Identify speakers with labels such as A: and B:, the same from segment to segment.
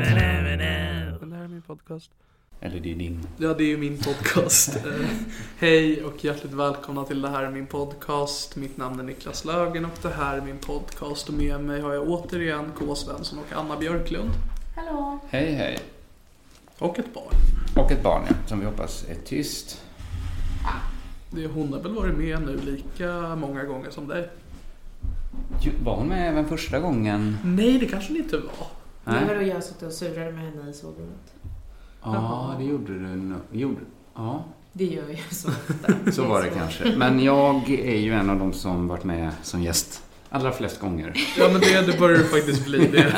A: Det här är min podcast.
B: Eller det är din.
A: Ja, det är ju min podcast. Eh, Hej och hjärtligt välkomna till Det här är min podcast. Mitt namn är Niklas Löfgren och det här är min podcast. Och med mig har jag återigen K. Svensson och Anna Björklund.
B: Hej hej.
A: Och ett barn.
B: Och ett barn ja, som vi hoppas är tyst.
A: Det, hon har väl varit med nu lika många gånger som dig?
B: Jo, Var hon med även första gången?
A: Nej, det kanske det inte var.
B: Nej.
C: Nej, vadå, jag satt och surrade med henne i sovrummet.
B: Ja, det gjorde du nog. Gjorde. Ja,
C: Det gör jag ju så ofta.
B: så var det kanske. Men jag är ju en av de som varit med som gäst allra flest gånger.
A: Ja, men det, det börjar det faktiskt bli. Det.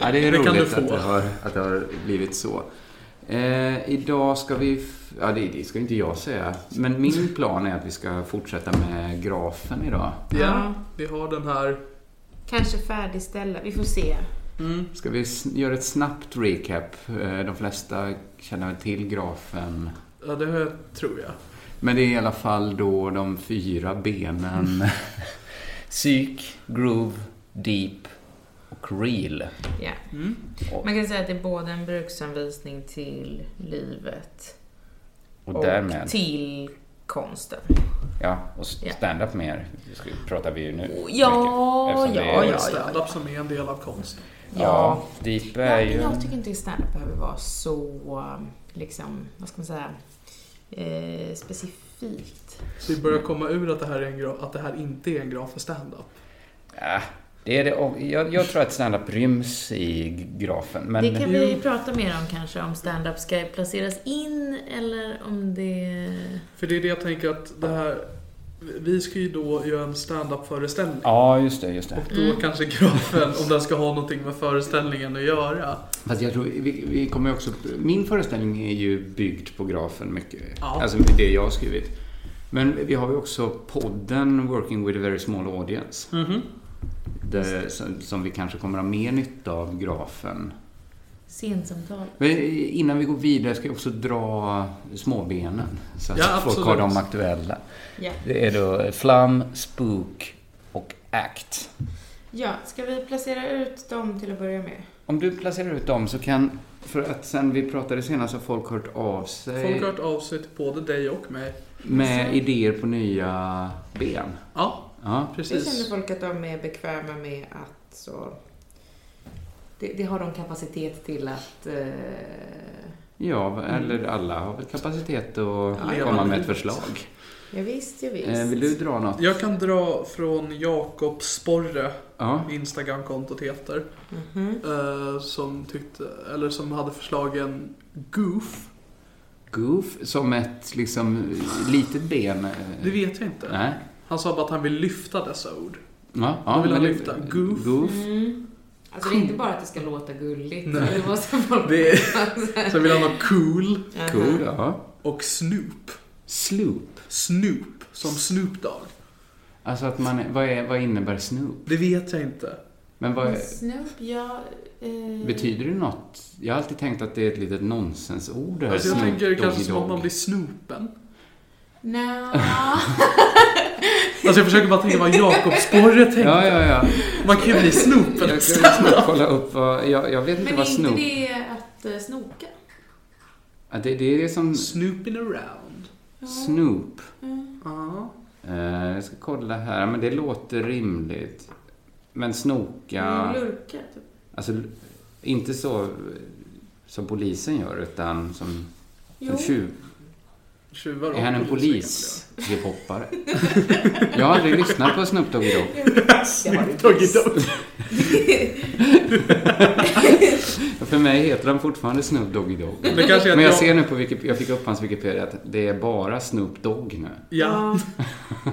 B: Ja, det är
A: Det kan du
B: roligt
A: få.
B: att det, har, att det har blivit så. Eh, idag ska vi... f- Ja, det, det ska inte jag säga. Men min plan är att vi ska fortsätta med grafen idag.
A: Ja, vi har den här.
C: Kanske färdigställa, vi får se.
B: Ska vi s- göra ett snabbt recap? Eh, de flesta känner väl till grafen.
A: Ja, det har jag, tror jag.
B: Men det är i alla fall då de fyra benen. Psyk, groove, deep och real.
C: Ja. Man kan säga att det är både en bruksanvisning till livet
B: Och, därmed,
C: till konsten.
B: ja, och s-
C: Ja.
B: stand-up mer det ska- pratar vi ju nu. mycket,
C: Ja,
B: eftersom det
C: ja,
B: är-
A: Ja,
C: ja.
A: Stand-up som är en del av konsten.
B: Ja, deep är
C: Jag,
B: ju...
C: jag tycker inte att standup behöver vara så, liksom, vad ska man säga, eh, specifikt.
A: Så vi börjar komma ur att det här, är en graf, att det här inte är en graf för stand-up.
B: Ja, Ah, det är det. Och jag, jag tror att stand-up ryms i grafen. Men
C: det kan vi prata mer om kanske, om standup ska placeras in eller om det...
A: För det är det jag tänker att det här... Vi ska ju då göra en stand-up-föreställning.
B: Ja, just det, just det.
A: Och då
C: Mm.
A: kanske grafen, om den ska ha någonting med föreställningen att göra.
B: Fast jag tror, vi, vi kommer ju också... Min föreställning är ju byggd på grafen mycket.
A: Ja.
B: Alltså det jag har skrivit. Men vi har ju också podden Working with a very small audience.
A: Mhm.
B: Där, som, som vi kanske kommer ha mer nytta av grafen.
C: Scensamtal.
B: Men eh, innan vi går vidare ska jag också dra småbenen. Så att
A: Ja,
B: folk
A: absolut.
B: har de aktuella.
C: Ja.
B: Det är då flam, spook och act.
C: ja, ska vi placera ut dem till att börja med?
B: Om du placerar ut dem så kan... För att sen vi pratade senast har folk hört av sig.
A: Folk har hört av sig till både dig och mig.
B: Med idéer på nya ben.
A: Ja,
B: Ja.
C: Det känner
A: precis.
C: folk att de är bekväma med att så... Det, det har de kapacitet till att eh,
B: Ja,
A: Mm.
B: eller alla har väl kapacitet att
A: Leva
B: komma med
A: ut.
B: ett förslag.
C: Ja, visst, ja, visst.
B: Eh, Vill du dra något?
A: Jag kan dra från Jakob Sporre,
B: Ja.
A: Instagramkontot heter,
C: Mhm.
A: eh, som, tyckte, eller som hade förslagen Goof.
B: Goof som ett liksom litet ben. eh,
A: Det vet jag inte.
B: Nej.
A: Han sa bara att han vill lyfta dessa ord.
B: Ja, ja,
A: Då vill han
B: men-
A: lyfta. Goof.
C: Mm. Alltså det är inte bara att det ska låta gulligt.
A: Nej.
C: Det måste folk...
A: Det Sen vill han ha cool
B: Cool, ja.
A: och Snoop.
B: Sloop.
A: Snoop, som Snoop Dogg.
B: Alltså att man, vad, är, vad innebär snoop?
A: Det vet jag inte.
B: Men vad,
A: Mm.
C: Snoop, ja... Eh...
B: betyder det något? Jag har alltid tänkt att det är ett litet nonsensord. det här,
A: Alltså jag
B: snoop,
A: tänker
B: doggy
A: kanske som
B: dog.
A: att man blir snopen.
C: Nja...
A: Alltså jag försöker bara tänka vad Jakob Sporre tänkte.
B: Ja, ja, ja.
A: Man kan ju bli snopen.
B: Jag ska snabbt kolla upp vad, jag, jag vet inte
C: Men
B: vad
C: är inte
B: snoop...
C: det att eh, snoka?
B: Ja, Det, det är det som
A: Snooping around.
B: snoop.
A: Ja.
B: Eh, jag ska kolla här, men det låter rimligt. Men snoka...
C: Ja. Lurka, typ.
B: Alltså, inte så eh, som polisen gör, utan som,
C: Jo.
B: som tjuv...
A: Tjuvar och
B: Är han en polis? Hiphoppare? jag har aldrig lyssnat på Snoop Doggy Dogg.
A: egentligen. Snoop Doggy Dogg.
B: För mig heter han fortfarande Snoop Doggy Dogg.
A: Det kanske är att
B: Men jag
A: jag-
B: ser nu på Wikipedia, jag fick upp hans Wikipedia, att det är bara Snoop Dogg nu.
A: Ja.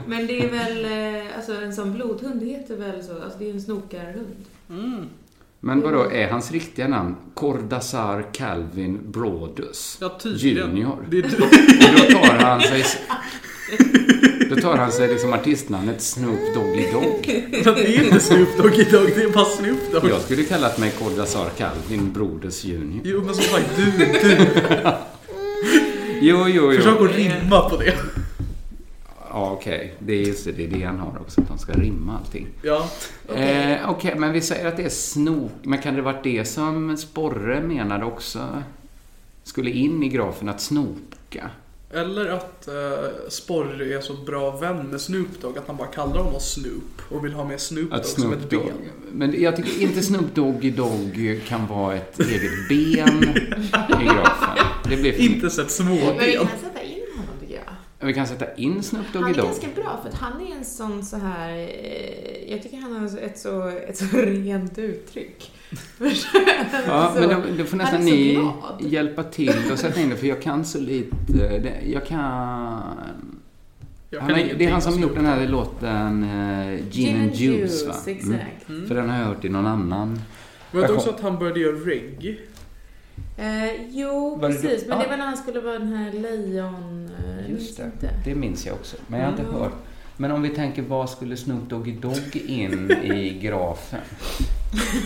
C: Men det är väl... eh, Alltså en sån blodhund heter väl så? Alltså det är ju en snokarhund.
B: Men vadå, är hans riktiga namn Cordassar Calvin Brodus?
A: Ja, tydligen.
B: Junior.
A: Det är
B: Och Då tar han sig... Då tar han sig liksom artistnamnet Snoop Doggy Dogg.
A: Men det är inte Snoop Doggy Dogg, det är bara Snoop Dogg.
B: Jag skulle kallat mig Cordassar Calvin Brodus Junior.
A: Jo men som sagt, du, du.
B: Jo, jo, jo.
A: Försök att rimma på det.
B: Ja, okej. Det är just det, det, är det han har också, att de ska rimma allting.
A: Ja.
B: Okej, eh, okej, men vi säger att det är snok. Men kan det varit det som Sporre menade också? Skulle in i grafen att snoka?
A: Eller att eh, Sporre är så bra vän med Snoop Dogg att han bara kallar honom Snoop och vill ha med Snoop Dogg
B: Att
A: som ett
B: Snoop Dogg.
A: ben.
B: Men jag tycker inte Snoop Doggy Dogg kan vara ett eget ben i grafen. Det blir för mycket.
A: Inte sett
C: Men vi
A: småben.
C: kan sätta in honom tycker jag.
B: Vi kan sätta in Snoop
C: Han
B: Doggy
C: är
B: Dogg.
C: ganska bra för att han är en sån så här... eh, Jag tycker han har så- ett så, ett så rent uttryck.
B: Ja,
C: Så-
B: men då, då får
C: han är
B: nästan
C: så
B: ni
C: glad.
B: hjälpa till och sätta in det, för jag kan så lite. eh, Det- Jag kan...
A: Jag kan
B: Han har, det
A: ingenting
B: är han
A: om
B: som
A: Snoop
B: gjort den här låten eh, Gin, and Juice, va? Mm.
C: Exakt.
B: För den har jag hört i någon annan.
A: Men jag vet också att han började göra reggae.
C: Eh, jo,
B: Var det då-
C: precis. Men det
B: ja.
C: var när han skulle vara den här lejon... eh, minns inte.
B: Det minns jag också. Men jag har inte
C: Mm.
B: hört. Men om vi tänker, vad skulle Snoop Doggy Dogg in i grafen?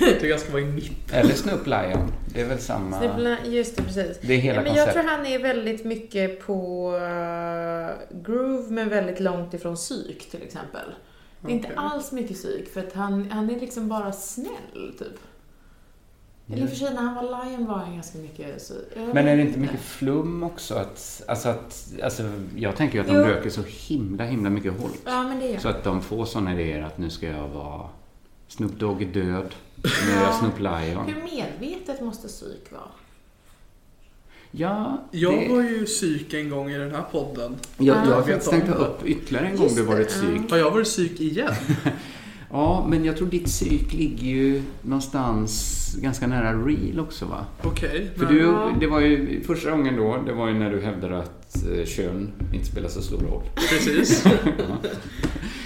A: Jag tycker han ska vara i mitten.
B: Eller Snoop Lion. Det är väl samma...
C: Så det blir- Just det, precis.
B: Det är hela
C: ja, men jag
B: konceptet.
C: tror han är väldigt mycket på eh, groove men väldigt långt ifrån psyk till exempel. Det är inte
A: Okej.
C: alls mycket psyk för att han, han är liksom bara snäll typ. Eller i och för sig när han var Lion var han ganska mycket psyk. Jag
B: Men är
C: vet
B: det inte mycket flum också? Att, alltså, att, alltså, jag tänker ju att de
C: Jo.
B: röker så himla, himla mycket holk.
C: Ja men det gör
B: Så att de får sådana idéer att nu ska jag vara... Snoop Dogg är död. Nu är jag Snoop
C: han.
B: Lion.
C: Hur medvetet måste psyk vara?
B: Ja,
A: Jag
B: det-
A: var ju psyk en gång i den här podden.
B: Jag, jag
A: Jag
B: har
A: vet
B: faktiskt
A: om
B: tänkt ta
A: det.
B: upp ytterligare en gång
C: Just
B: du varit
C: det,
B: psyk.
A: Har jag varit psyk igen?
B: Ja, men jag tror ditt psyk ligger ju någonstans ganska nära real också va?
A: Okej.
B: För
A: men-
B: du, det var ju första gången då, det var ju när du hävdade att eh, kön inte spelar så stor roll.
A: Precis.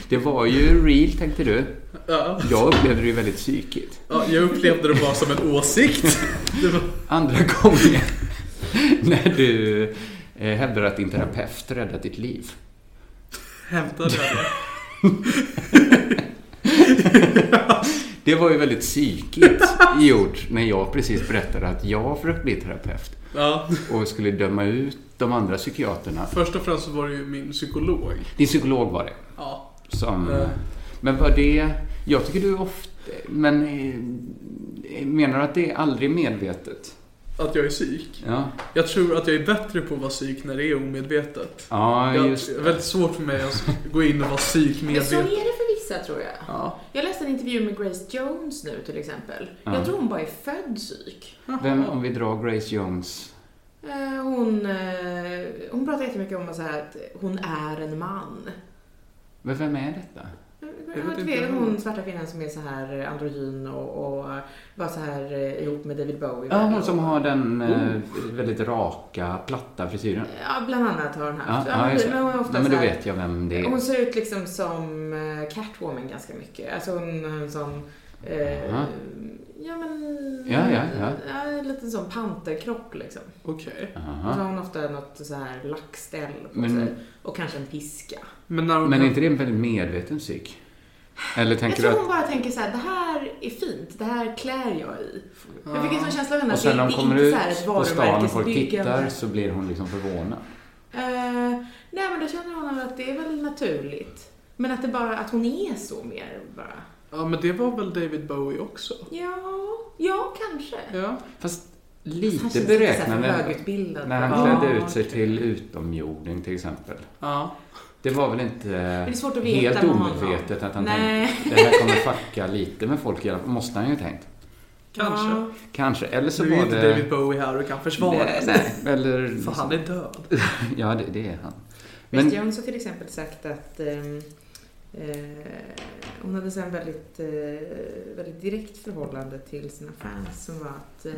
B: Det var ju real tänkte du.
A: Ja.
B: Jag upplevde det ju väldigt psykigt.
A: Ja, jag upplevde det bara som en åsikt. Det var...
B: Andra gången när du eh, hävdade att din terapeut räddat ditt liv.
A: Hämtade jag det?
B: Det var ju väldigt psykiskt gjort när jag precis berättade att jag försökte bli terapeut
A: Ja.
B: och skulle döma ut de andra psykiaterna.
A: Först och främst så var det ju min psykolog.
B: Din psykolog var det.
A: Ja.
B: Som,
A: Eh.
B: Men var det... Jag tycker du ofta... Men eh, menar du att det är aldrig medvetet?
A: Att jag är psyk.
B: Ja,
A: Jag tror att jag är bättre på att vara psyk när det är omedvetet.
B: ja
A: Jag-
B: just
A: Det är väldigt svårt för mig att gå in och vara
C: Men så är
A: psykmedveten.
C: det för vissa tror jag.
A: Ja.
C: Jag läste en intervju med Grace Jones nu till exempel. Jag tror hon bara är född psyk.
B: Vem, om vi drar Grace Jones.
C: Eh, hon, eh, hon pratar jättemycket om så här att hon är en man.
B: Men vem är detta?
A: vet
C: Ja,
A: inte
C: Det är
A: jag.
C: hon svarta kvinnan som är så här eh, androgyn och, och var så här eh, ihop med David Bowie.
B: Ja, hon som har den eh, väldigt raka, platta frisyren.
C: Oh. Ja, bland annat har hon
B: Ja,
C: haft.
B: ja, just det.
C: men hon är ofta
B: Nej, men då
C: så här-
B: vet jag vem det är.
C: Hon ser ut liksom som eh, Catwoman ganska mycket. Alltså hon har en sån... Eh,
B: Jaha.
C: ja, men...
B: Ja, ja, ja.
C: lite sån panterkropp liksom.
A: Okej.
C: Och
B: Aha.
C: så har hon ofta något så här lackställ på
B: Men-
C: sig. Och kanske en piska.
A: Men när hon...
B: Men är inte det en väldigt medveten psyk? Eller tänker du
C: jag tror
B: att...
C: hon bara tänker så här, det här är fint, det här klär jag i. Jag fick en sån känsla av henne
B: Och
C: att det,
B: sen
C: det
B: när
C: är
B: hon kommer
C: inte
B: ut
C: så här ett
B: på stan och folk tittar
C: varumärkesbyggande.
B: så blir hon liksom förvånad.
C: Eh, nej, men då känner hon att det är väl naturligt. Men att det bara, att hon är så mer bara.
A: Ja, men det var väl David Bowie också?
C: Ja, ja kanske.
A: Ja.
B: Fast
C: Han
B: lite
C: känns
B: beräknande
C: lite så här högutbildad.
B: när han
A: Ja.
B: klädde ut sig till utomjording till exempel.
A: Ja.
B: Det var väl inte
C: är svårt att veta
B: helt
C: med honom.
B: omedvetet att han
C: Nej.
B: tänkte det här kommer fucka lite med folk i alla fall. Måste han ju ha tänkt.
A: Kanske.
C: Ja.
B: Kanske. Eller så
A: nu är ju
B: var
A: inte
B: det...
A: David Bowie här och kan försvara
B: nej,
A: sig.
B: nej. Eller...
A: För han är död.
B: Ja, det, det är han.
C: Men...
B: Men,
C: Jones har till exempel sagt att ehm, eh, hon hade så en väldigt, eh, väldigt direkt förhållande till sina fans som var att eh,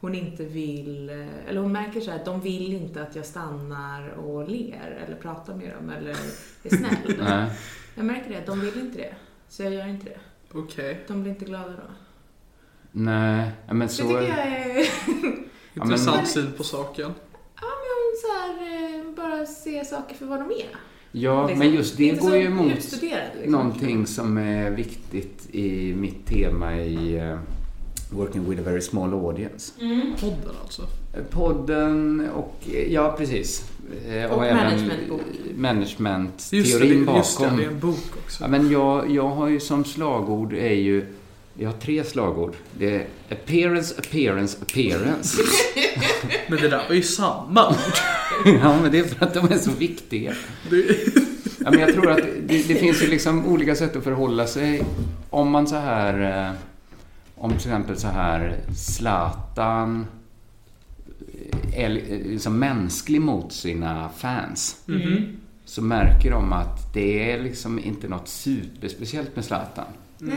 C: hon inte vill, eh, eller hon märker så här att de vill inte att jag stannar och ler eller pratar med dem eller är snäll.
B: nej.
C: jag märker det, de vill inte det. Så jag gör inte det.
A: Okej.
C: De blir inte glada då.
B: Nej, ja, men så...
C: Så det tycker jag är...
B: Ja, men-
A: Intressant syn på saken.
C: ja, men hon så här, eh, bara ser saker för vad de är.
B: Ja,
C: Liksom.
B: men just det
C: Inte
B: går
C: så
B: ju emot
C: utstuderad, liksom.
B: någonting som är viktigt i mitt tema i eh, Working with a very small audience.
C: Mm.
A: Podden alltså.
B: Eh, Podden och, eh, ja precis. Eh,
C: Och
B: även
C: managementbok.
A: Just det, det,
B: managementteorin
A: just det,
B: bakom.
A: det är en bok också.
B: Ja, men jag, jag har ju som slagord är ju, jag har tre slagord. Det är appearance, appearance, appearance.
A: Men det där var ju samma.
B: ja, men det är för att de är så viktiga.
A: Det,
B: Ja, men jag tror att det, det finns ju liksom olika sätt att förhålla sig. Om man så här... eh, Om till exempel så här Zlatan eh, är li- eh, liksom mänsklig mot sina fans. Så märker de att det är liksom inte något superspeciellt med Zlatan.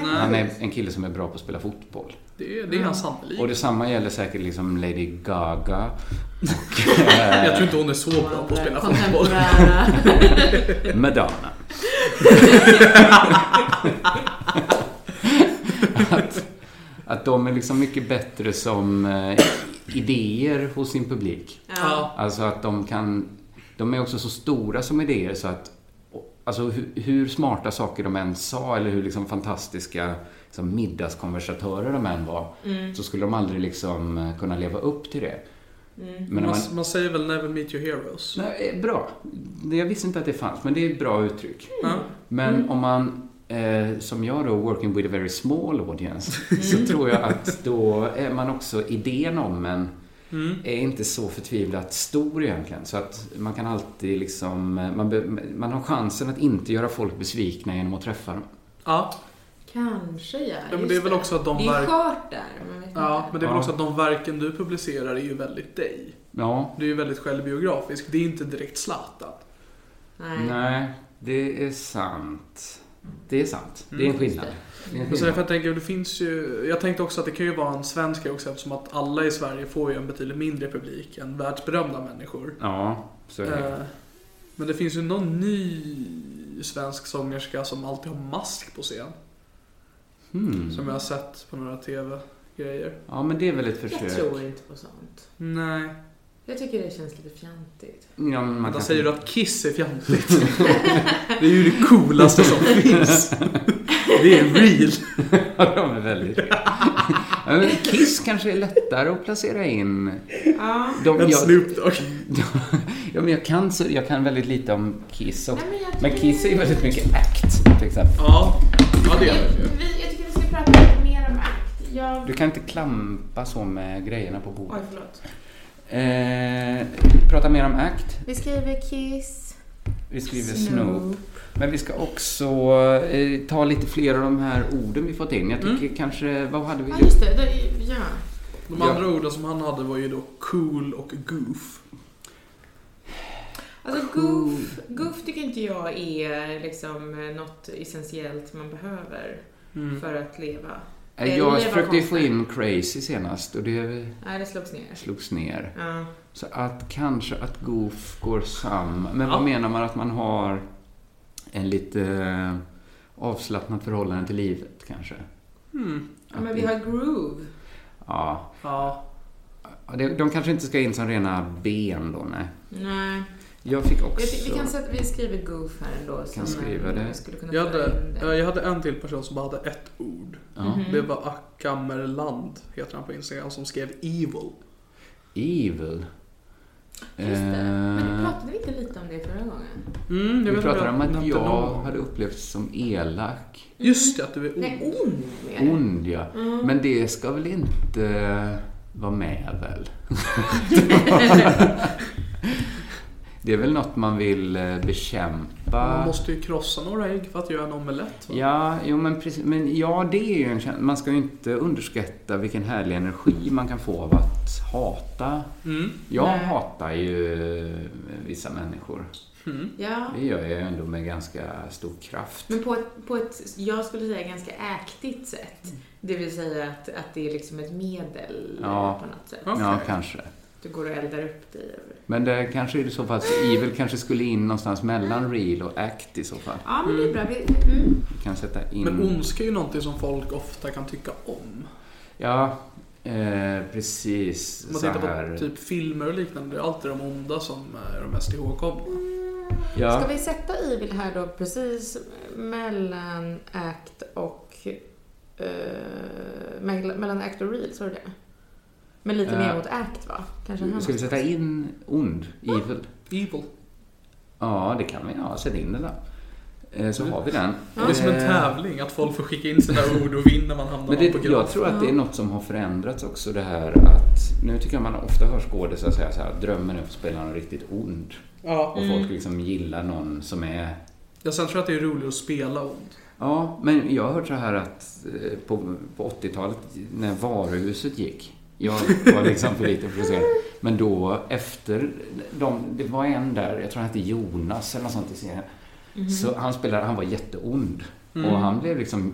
B: Han är en kille som är bra på att spela fotboll.
A: det, är- det är han sannolikt.
B: Och detsamma gäller säkert liksom Lady Gaga.
A: Jag tror inte hon är så bra på att spela fotboll.
C: Kontemporära.
B: Madonna. att, att de är liksom mycket bättre som eh, idéer hos sin publik.
A: Ja.
B: Alltså att de kan... De är också så stora som idéer så att... Alltså hur, hur smarta saker de än sa eller hur liksom fantastiska liksom middagskonversatörer de än var så skulle de aldrig liksom eh, kunna leva upp till det. Men när
A: Man,
B: man-
A: man säger väl never meet your heroes.
B: Nej, eh, bra. Det- Jag visste inte att det fanns, men det är ett bra uttryck.
A: Ja.
B: Men om man, eh, som jag då, working with a very small audience, så tror jag att då är man också, idén om en är inte så förtvivlat stor egentligen. Så att man kan alltid liksom, eh, man, be, man har chansen att inte göra folk besvikna genom att träffa dem.
A: Ja.
C: Kanske ja.
A: men
C: just
A: det är väl också att de
C: Det är
A: verk-
C: skört där. Man vet
A: ja,
C: inte.
A: men det är väl
B: Ja.
A: också att de verken du publicerar är ju väldigt dig.
B: Ja,
A: Du är ju väldigt självbiografisk. Det är inte direkt Zlatan.
C: Nej.
B: nej, det är sant. Det är sant. Det är en skillnad. Det är en
A: Och så
B: skillnad.
A: därför Alltså, jag, tänker, det finns ju, jag tänkte också att det kan ju vara en svensk också eftersom att alla i Sverige får ju en betydligt mindre publik än världsberömda människor.
B: Ja, så är det.
A: Eh, Men det finns ju någon ny svensk sångerska som alltid har mask på scen.
B: Hmm.
A: Som jag har sett på några TV-grejer.
B: Ja, men det är väl ett försök.
C: Jag tror inte på sånt.
A: Nej.
C: Jag tycker det känns lite fjantigt.
B: Ja, men man
A: Då
B: kan...
A: säger du att Kiss är fjantigt. det är ju det coolaste som finns. Det är real.
B: Ja, de är väldigt Ja, men Kiss kanske är lättare att placera in.
C: Ja.
B: De,
A: Men Snoop Dogg.
B: ja, men jag, kan, så- jag kan väldigt lite om Kiss. Och,
C: Nej, men jag
B: men
C: tycker-
B: Kiss är ju väldigt mycket act, till exempel.
A: Ja, ja det är det ju.
C: Vi, jag tycker vi ska prata lite mer om akt. Jag...
B: Du kan inte klampa så med grejerna på
C: Oj,
B: bordet.
C: förlåt.
B: Eh, prata mer om act.
C: Vi skriver Kiss.
B: Vi skriver Snoop. Men vi ska också eh, ta lite fler av de här orden vi fått in. Jag tycker
C: Mm.
B: kanske, vad hade vi?
C: Ja, just det. det ja.
A: De
B: Ja.
A: andra orden som han hade var ju då cool och goof.
C: Alltså goof, goof tycker inte jag är liksom eh, något essentiellt man behöver
A: Mm.
C: för att leva.
B: Eh,
C: det var
B: Jag försökte ju få
C: konstigt.
B: in crazy senast och det
C: Nej, det slogs ner.
B: slogs ner.
C: Ja.
B: Så att kanske att goof går samma. Men vad
A: Ja.
B: menar man att man har en lite eh, avslappnat förhållande till livet kanske?
A: Mm.
C: Ja, men vi har groove.
B: Ja.
A: Ja.
B: Ja, det- De kanske inte ska in som rena ben då, nej.
C: Nej.
B: Jag fick
C: Jag
B: också...
C: ty- vi kan säga att vi skriver goof här ändå. Som
B: skriva
C: eh,
B: det.
C: Skulle kunna
A: Jag
C: föra
A: hade,
C: in det.
A: ja, jag hade en till person som bara hade ett ord.
B: ja.
C: Mhm.
A: Det var Ackammerland, heter han på Instagram, som skrev evil.
B: Evil.
C: Just det. Men
B: Eh,
C: du pratade vi inte lite om det förra gången?
A: Mm,
B: vi pratade om att
A: nämnde
B: jag
A: någon.
B: hade upplevts som elak.
A: Just det, att
B: Mm.
A: du är
C: Nej,
A: ond.
C: ond mer.
B: Ond, ja.
C: Mm.
B: Men det ska väl inte vara med väl? det är väl något man vill eh, bekämpa?
A: Man måste ju krossa några ägg för att göra en omelett. va?
B: Ja, jo, men, precis, men ja, det är ju en känsla. Man ska ju inte underskatta vilken härlig energi man kan få av att hata.
A: Mm.
B: Jag
C: Nej.
B: hatar ju eh, vissa människor.
A: Mm.
C: Ja.
B: Det gör jag ju ändå med ganska stor kraft.
C: Men på ett, på ett, jag skulle säga ganska äktigt sätt. Det vill säga att, att det är liksom ett medel
B: Ja.
C: eh, på något sätt.
A: Ja.
B: Ja,
A: Okej.
B: kanske.
C: Du går och eldar upp dig över.
B: Men det kanske i så fall, Evil kanske skulle in någonstans mellan real och act i så fall.
C: Ja, men det är bra. Vi, mm.
B: Vi kan sätta in...
A: Men ondska är ju någonting som folk ofta kan tycka om.
B: Ja, eh, precis.
A: Om man
B: så
A: tittar
B: här.
A: på typ filmer och liknande, det är alltid de onda som är de mest ihågkomna.
C: mm.
B: Ja,
C: Ska vi sätta Evil här då precis mellan act och... eh, mell- mellan act och real, sa du det? Men lite
B: Eh.
C: mer mot act va? Kanske här
B: ska vi sätta
C: någonstans.
B: in ond, Evil?
A: Evil.
B: Ja, det kan vi. Ja, sätt in den då. Eh, så har vi den.
A: Det är som en
B: Eh,
A: tävling, att folk får skicka in sina ord och vinna man hamnar
B: Men
A: någon på
B: det, jag
A: graf.
B: tror att det är något som har förändrats också det här att nu tycker jag man ofta hör skådisar säga så här, drömmen är att spela någon riktigt ond.
A: Ja.
B: Och folk liksom gillar någon som är
A: Jag sen tror jag att det är roligt att spela ond.
B: Ja, men jag har hört så här att eh, på, på 80-talet när varuhuset gick. Jag var liksom för lite för att se. Men då efter de, det var en där, jag tror han hette Jonas eller något sånt i serien.
C: Mhm.
B: Så han spelade, han var jätteond.
C: Mm.
B: Och han blev liksom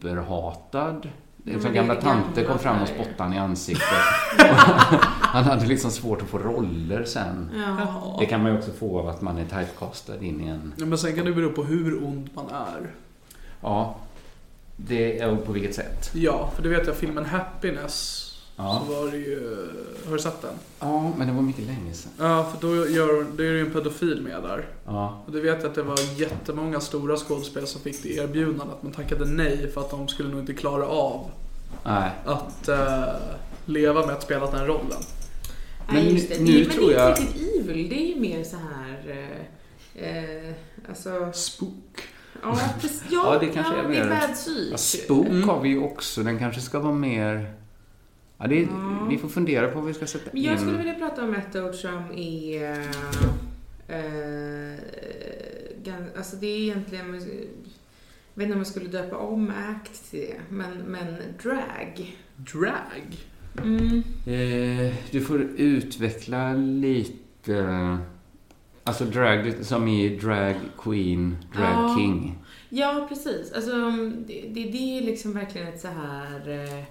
B: superhatad.
C: men
B: Liksom
C: det är
B: gamla
C: det
B: tanter kom
C: gamla
B: fram och
C: Sverige.
B: spottade han i ansiktet. han hade liksom svårt att få roller sen.
C: Ja.
B: Det kan man ju också få av att man är typecastad in i en
A: Ja, Men sen kan det bero på hur ond man är.
B: Ja. Det är på vilket sätt?
A: Ja, för det vet jag filmen Happiness.
B: Ja.
A: Så var det ju... Har du sett den?
B: Ja, men det var mycket länge sedan.
A: Ja, för då gör, det är ju en pedofil med där.
B: Ja.
A: Och det vet jag att det var jättemånga stora skådespelare som fick det erbjudandet men tackade nej för att de skulle nog inte klara av
B: Nej.
A: att eh, leva med att spela den rollen.
C: Nej,
B: Men
C: just det.
B: nu
C: Det- men
B: tror
C: det är
B: jag-
C: inte riktigt evil, det är ju mer så här... eh, Eh, alltså,
A: Spook.
C: ja, precis,
B: Ja, det kanske är
C: det
B: mer-
C: är bad psyk.
B: Ja, Spook
A: Mm.
B: har vi ju också. Den kanske ska vara mer... Ja, det är,
C: Ja.
B: Vi får fundera på vad vi ska sätta
C: Men
B: in.
C: jag skulle vilja prata om ett ord som är... Eh, gan, alltså det är egentligen... Jag vet inte om jag skulle döpa om act till det, men, men drag.
A: Drag.
C: Mm.
B: eh, du får utveckla lite... Alltså drag, som i drag queen, drag
C: Ja.
B: king.
C: Ja, precis. Alltså, det, det, det är liksom verkligen ett så här... eh,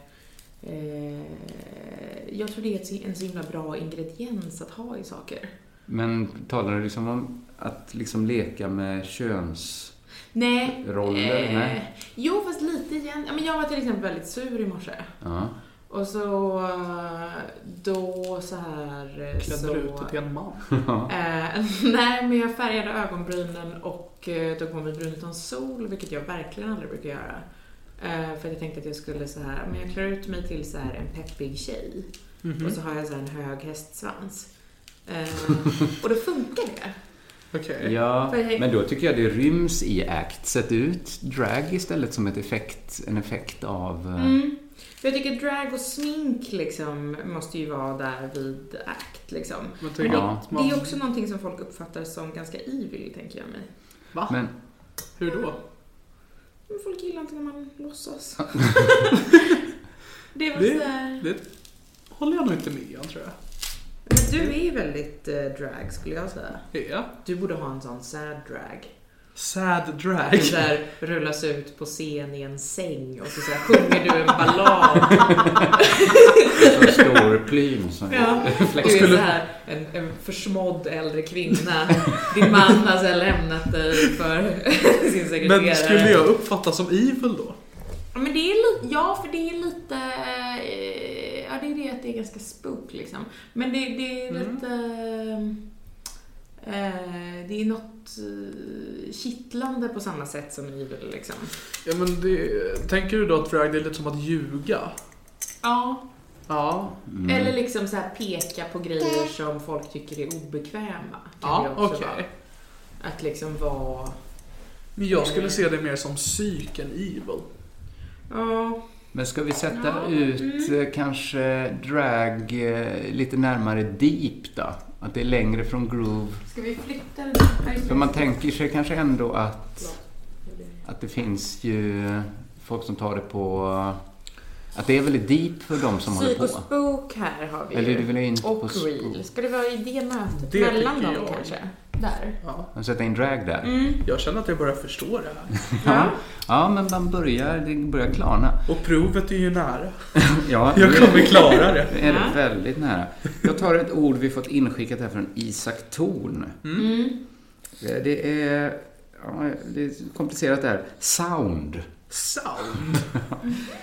C: Eh, jag tror det är ett, så- en så himla bra ingrediens att ha i saker.
B: Men talar du liksom om att liksom leka med köns...
C: Nej. Eh,
B: Roller, nej.
C: Jo, fast lite igen. Ja, men jag var till exempel väldigt sur i morse.
B: Ja.
C: Och så eh, då så här... eh,
A: Klädde
C: så,
A: ut det till en man.
C: Eh, nej, men jag färgade ögonbrynen och eh, tog på mig brun utan sol, vilket jag verkligen aldrig brukar göra. Eh, för att jag tänkte att jag skulle så här, men jag klär ut mig till så här en peppig tjej
A: Mm.
C: och så har jag så här en hög hästsvans. Eh, och då funkar det.
A: Okej.
B: Ja,
C: För jag-
B: men då tycker jag det ryms i act. Sätt ut drag istället som ett effekt, en effekt av... eh,
C: Mm. För jag tycker drag och smink liksom måste ju vara där vid act liksom.
A: Men tänk
B: Ja.
A: att
C: Det
A: man...
C: är också någonting som folk uppfattar som ganska evil, tänker jag mig.
A: Va?
B: Men,
A: Hur då?
C: Men folk gillar inte när man låtsas. det var
A: Det-
C: såhär...
A: Det håller jag nog inte med om tror jag.
C: Jag Du är väldigt eh, drag skulle jag säga.
A: Ja.
C: Du borde ha en sån sad drag.
A: Sad
C: Du
A: drag.
C: där rullas ut på scen i en säng och så, så här, sjunger du en ballad.
B: Så stor plym som
C: Ja. Du är så här, en, en försmådd äldre kvinna. Din man har så här lämnat dig för sin sekreterare.
A: Men skulle jag uppfattas som evil då?
C: Ja, Men det är li- ja, för det är lite... eh, Ja, det är det att det är ganska spook liksom. Men det, det är
A: Mm.
C: lite... eh, det är något eh, kittlande på samma sätt som evil liksom.
A: Ja, men det, tänker du då att drag det är lite som att ljuga?
C: Ja.
A: Ja.
B: Mm.
C: Eller liksom så här peka på grejer som folk tycker är obekväma. kan
A: Ja,
C: det också
A: okej.
C: vara. Att liksom vara...
A: Men jag skulle se det mer som psyk än evil.
C: Ja.
B: Men ska vi sätta
C: Ja, mm.
B: ut eh, kanske drag eh, lite närmare deep då? Att det är längre från groove.
C: Ska vi flytta den? Ja, just
B: För
C: det.
B: man tänker sig kanske ändå att,
C: Eller-
B: att det finns ju folk som tar det på... Att det är väldigt deep för de som håller
C: Psyk
B: på.
C: och spook här har vi
B: Eller
C: ju.
B: du vill in på
C: Och
B: spook.
C: real. Ska det vara i det mötet
A: Det
C: mellan
A: tycker
C: dem
A: jag.
C: kanske? Där.
A: Ja.
B: Man sätter in drag där.
A: Jag känner att jag börjar förstå det här.
C: Ja.
B: Ja, men man börjar, det börjar klarna.
A: Och provet är ju nära.
B: Ja,
A: Jag kommer klara det.
B: det är det väldigt nära. Jag tar ett ord vi fått inskickat här från Isak Thorn.
C: Mm.
B: Eh, Det är, ja, det är komplicerat det här. Sound.
A: Sound.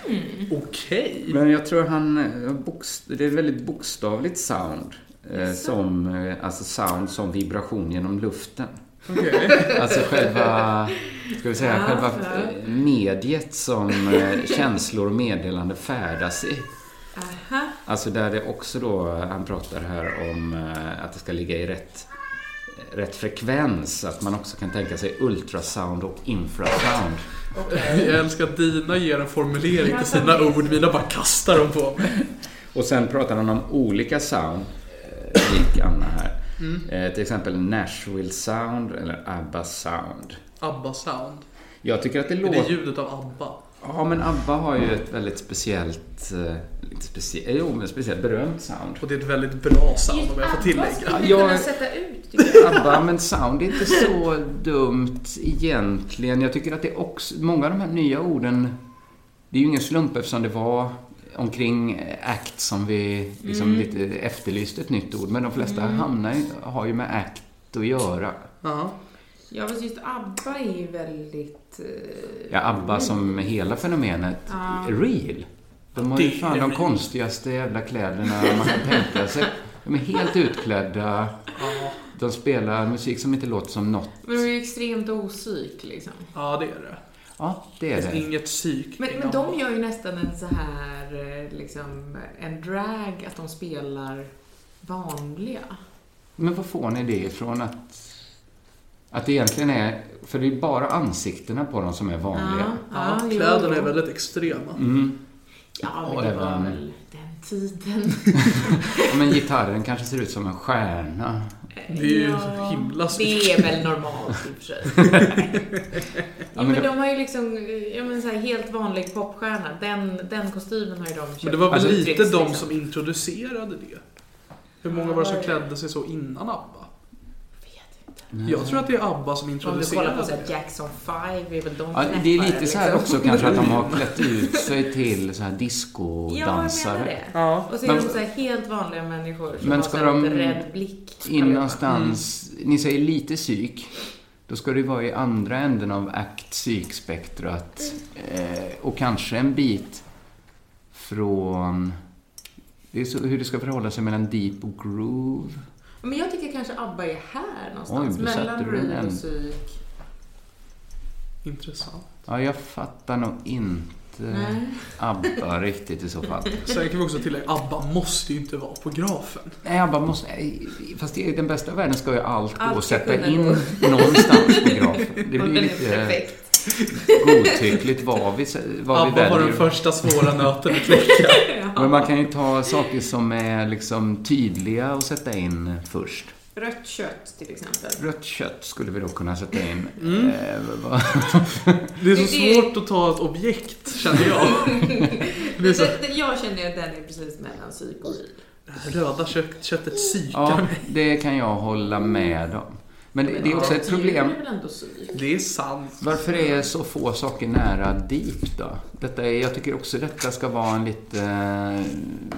C: Mm.
A: Okej.
B: Men jag tror han, eh, bokst- det är väldigt bokstavligt sound. Eh, som, eh, alltså sound som vibration genom luften.
A: Okej.
B: Alltså själva, ska vi säga,
C: Ja,
B: själva
C: ja.
B: eh, mediet som eh, känslor och meddelande färdas i.
C: Aha.
B: Alltså där det också då, han pratar här om eh, att det ska ligga i rätt, rätt frekvens. Att man också kan tänka sig ultrasound och infrasound.
A: Jag älskar att Dina ger en formulering till sina ord. Mina bara kastar dem på mig.
B: Och sen pratar han om olika sound, eh, lik Anna här. Eh, till exempel Nashville sound eller ABBA sound.
A: Abba sound.
B: Jag tycker att det
A: Är det
B: låter...
A: ljudet av Abba?
B: Ja, men ABBA har ju ett väldigt speciellt... Eh, lite specie... Jo, men speciellt berömt sound.
A: Och det är ett väldigt bra sound om jag får
C: Vad
A: tillägga.
C: skulle vi
B: Jag-
C: kunna sätta ut tycker jag?
B: ABBA, men sound är inte så dumt egentligen. Jag tycker att det också, många av de här nya orden, det är ju ingen slump eftersom det var omkring ACT som vi liksom
C: Mm.
B: lite efterlyste ett nytt ord. Men de flesta hamnar, ju- har ju med ACT att göra.
A: Ja.
C: Ja fast just ABBA är ju väldigt... eh,
B: Ja, ABBA som hela fenomenet,
C: Mm. Ja.
B: real. De har
A: Det
B: ju
A: är
B: fan de
A: real.
B: konstigaste jävla kläderna man kan tänka sig. De är helt utklädda.
A: Ja.
B: De spelar musik som inte låter som något.
C: Men de är ju extremt osyk liksom.
A: ja, det är det.
B: Ja, det är
A: Det
B: det.
A: finns inget psyk.
C: Men, men
A: inom-
C: de gör ju nästan en så här, eh, liksom, en drag, att de spelar vanliga.
B: Men var får ni det ifrån att, att det egentligen är... För det är bara ansiktena på dem som är vanliga.
A: Ja,
C: jo,
A: kläderna är
C: jo.
A: väldigt extrema.
B: Mm.
C: Ja,
B: Och
C: men det
B: även-
C: var väl den tiden.
B: Ja, Men gitarren kanske ser ut som en stjärna.
A: Det är ju himla snyggt.
C: Eh, Det är väl normalt i och för sig. ja,
B: men
C: men
B: det-
C: de har ju liksom, eh, ja men så här helt vanlig popstjärna. Den, den kostymen har ju de köpt.
A: Men det var väl
B: Alltså,
A: lite
C: tricks,
A: de
C: liksom.
A: som introducerade det. Hur många var det som klädde sig så innan ABBA?
C: Vet inte.
A: Jag tror att det är ABBA som
C: Om du kollar på
A: introducerade
C: så här
A: det.
C: Jackson 5, är väl de
B: Ja, det är
C: knäppare,
B: lite så här
C: liksom.
B: också kanske att de har klätt ut sig till så här discodansare.
C: Ja, jag menar det.
A: Ja.
C: Och så är
B: Men-
C: de så här helt vanliga människor som
B: Men
C: har
B: ska
C: så här
B: de
C: lite rädd blick.
B: In någonstans, ni säger lite psyk. Då ska det vara i andra änden av akt psykspektrat. Eh, och kanske en bit från... Det är så, hur det ska förhålla sig mellan deep och groove.
C: Men jag tycker kanske ABBA är här någonstans.
B: Oj, då satte
C: mellan
B: du den
C: Ruin
B: än.
C: och Psyk.
A: Intressant.
B: Ja, jag fattar nog inte
C: Nej.
B: ABBA riktigt i så fall.
A: Sen kan vi också tillägga ABBA måste ju inte vara på grafen.
B: Nej, ABBA måste... nej, Fast i den bästa världen ska ju allt gå
C: Allt
B: att
C: ska
B: sätta
C: kunna
B: in
C: gå.
B: någonstans på grafen. Det
C: Och
B: blir
C: den
B: ju
C: är
B: lite
C: perfekt.
B: godtyckligt vad vi, vad vi
A: ABBA var den
B: väljer.
A: första svåra nöten att knäcka.
B: Men man kan ju ta saker som är liksom tydliga och sätta in först.
C: Rött kött till exempel.
B: Rött kött skulle vi då kunna sätta in. Eh, vad-
A: Det är så
C: Det är-
A: svårt att ta ett objekt, känner jag. Det är så...
C: Det- det- Jag känner ju att den är precis mellan psyk och liv.
A: Det här röda kött, köttet psykar
B: Ja,
A: mig.
B: det kan jag hålla med om. Men det, det är
C: Men
B: också ett
C: därutöver
B: problem.
C: är väl ändå psyk?
A: Det är sant.
B: Varför är så få saker nära deep då? Detta är, jag tycker också detta ska vara en lite, eh,
A: Men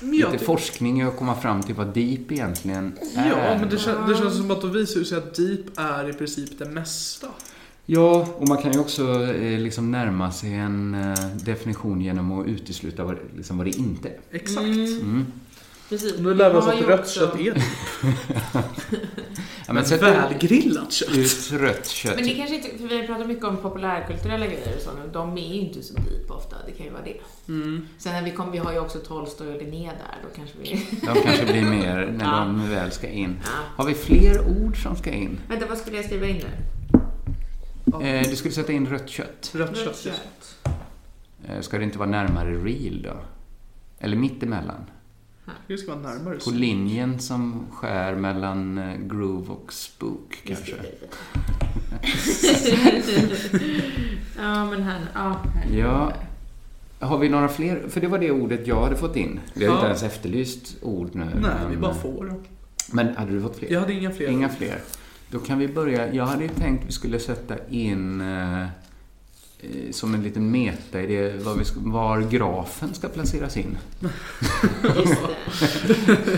A: jag
B: lite
A: tycker-
B: forskning i att komma fram till vad deep egentligen är.
A: Ja, men det, kän, det känns som att de visar ju sig att deep är i princip det mesta.
B: Ja, och man kan ju också eh, liksom närma sig en eh, definition genom att utesluta vad, liksom vad det inte är.
A: Exakt.
B: Mm.
C: Precis.
A: Nu lär vi oss
C: Man har
A: att
C: ju
A: rött
C: också-
A: kött är det.
B: Ja, men sätt ut-
A: välgrillat kött.
B: ut rött kött.
C: Men det kanske inte, för vi har pratat mycket om populärkulturella grejer och så nu. De är ju inte så deep ofta, det kan ju vara det.
A: Mm.
C: Sen när vi kom, vi har ju också Tolstoj och Linné där, då kanske vi...
B: De kanske blir mer när
C: Ja.
B: de väl ska in.
C: Ja.
B: Har vi fler ord som ska in?
C: Vänta, vad skulle jag skriva in nu?
B: Eh, du skulle sätta in rött kött.
A: Rött kött. ja.
B: Eh, ska det inte vara närmare real då? Eller mittemellan?
A: Det ska vara närmare.
B: På linjen som skär mellan eh, groove och spook kanske?
C: ja, men här nu. Ja, här.
B: Ja. Har vi några fler? För det var det ordet jag hade fått in. Vi har
A: Ja.
B: inte ens efterlyst ord nu.
A: Nej, vi
B: men-
A: bara får dem.
B: Men hade du fått fler?
A: Jag hade inga fler.
B: Mm. Inga fler. Då kan vi börja. Jag hade ju tänkt vi skulle sätta in eh, eh, som en liten meta i det var, vi ska, var grafen ska placeras in.
C: Just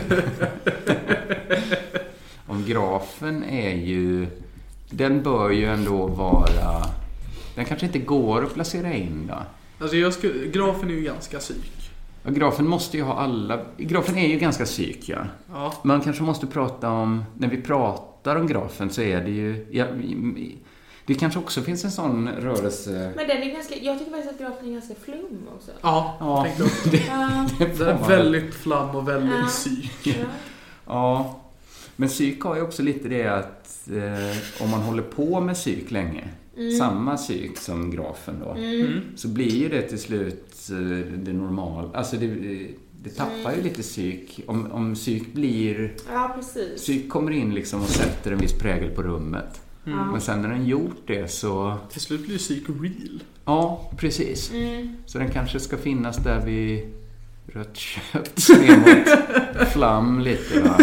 C: det.
B: Om grafen är ju... Den bör ju ändå vara... Den kanske inte går att placera in då.
A: Alltså jag skulle, grafen är ju ganska psyk.
B: Ja, grafen måste ju ha alla... Grafen är ju ganska psyk, ja.
A: Ja.
B: Man kanske måste prata om... När vi pratar om grafen så är det ju... Ja, det kanske också finns en sån rörelse...
C: Men den är ganska, jag tycker faktiskt att grafen är ganska flum också.
A: Ja,
B: Ja.
A: tänkte jag också.
C: Ja,
A: Det är väldigt flam och väldigt
C: Ja.
A: psyk.
C: ja.
B: Ja, men psyk har ju också lite det att eh, om man håller på med psyk länge, samma psyk som grafen då,
A: Mm.
B: så blir ju det till slut eh, det normala. Alltså det, det tappar ju lite psyk. Om, om psyk blir...
C: ja precis.
B: Psyk kommer in liksom och sätter en viss prägel på rummet. Men sen när den gjort det så...
A: Mm. Till slut blir ju psyk real.
B: Ja, precis.
C: Mm.
B: Så den kanske ska finnas där vid rött kött, ner mot flam lite va?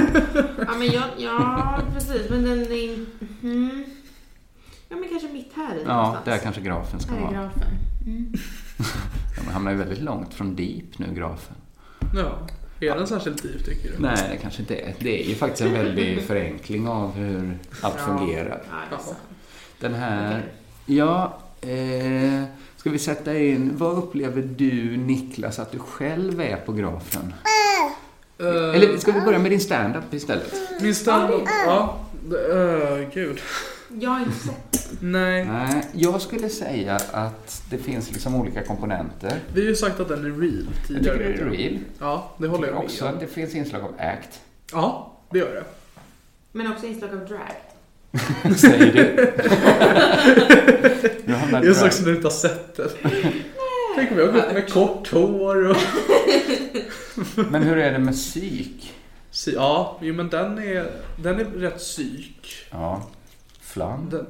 C: Ja, men jag, ja, precis. Men den är... mhm. Ja, men kanske mitt här i
B: Ja,
C: någonstans.
B: där kanske grafen ska
C: Här är
B: vara.
C: grafen.
B: Ja, men hamnar ju väldigt långt från deep nu, grafen.
A: Ja. Är den särskilt div tycker du?
B: Nej, det kanske inte är. Det är ju faktiskt en väldig förenkling av hur allt
C: Ja.
B: fungerar.
C: Ja, det är sant.
B: Den här... Ja, eh, ska vi sätta in... Vad upplever du, Niklas, att du själv är på grafen?
C: Äh.
A: Eh,
B: Eller ska vi börja med din standup istället?
A: Min standup... Ja. Uh, gud.
C: Jag har inte sett.
A: Nej.
B: Nej, jag skulle säga att det finns liksom olika komponenter.
A: Vi har ju sagt att den är real
B: Jag tycker
A: tidigare.
B: det är real.
A: Ja, det håller
B: Jag
A: jag
B: tycker
A: med
B: också
A: om.
B: att det finns inslag av act.
A: Ja, det gör det.
C: Men också inslag av drag.
B: Säger du? Nu hamnar
A: Jag är
B: du
A: så
B: här.
A: också nu inte har sett den. Tänk om jag har gått med kort hår och...
B: Men hur är det med psyk?
A: Sy- Ja, jo, men den är, den är rätt psyk.
B: Ja. Flam?
A: Den...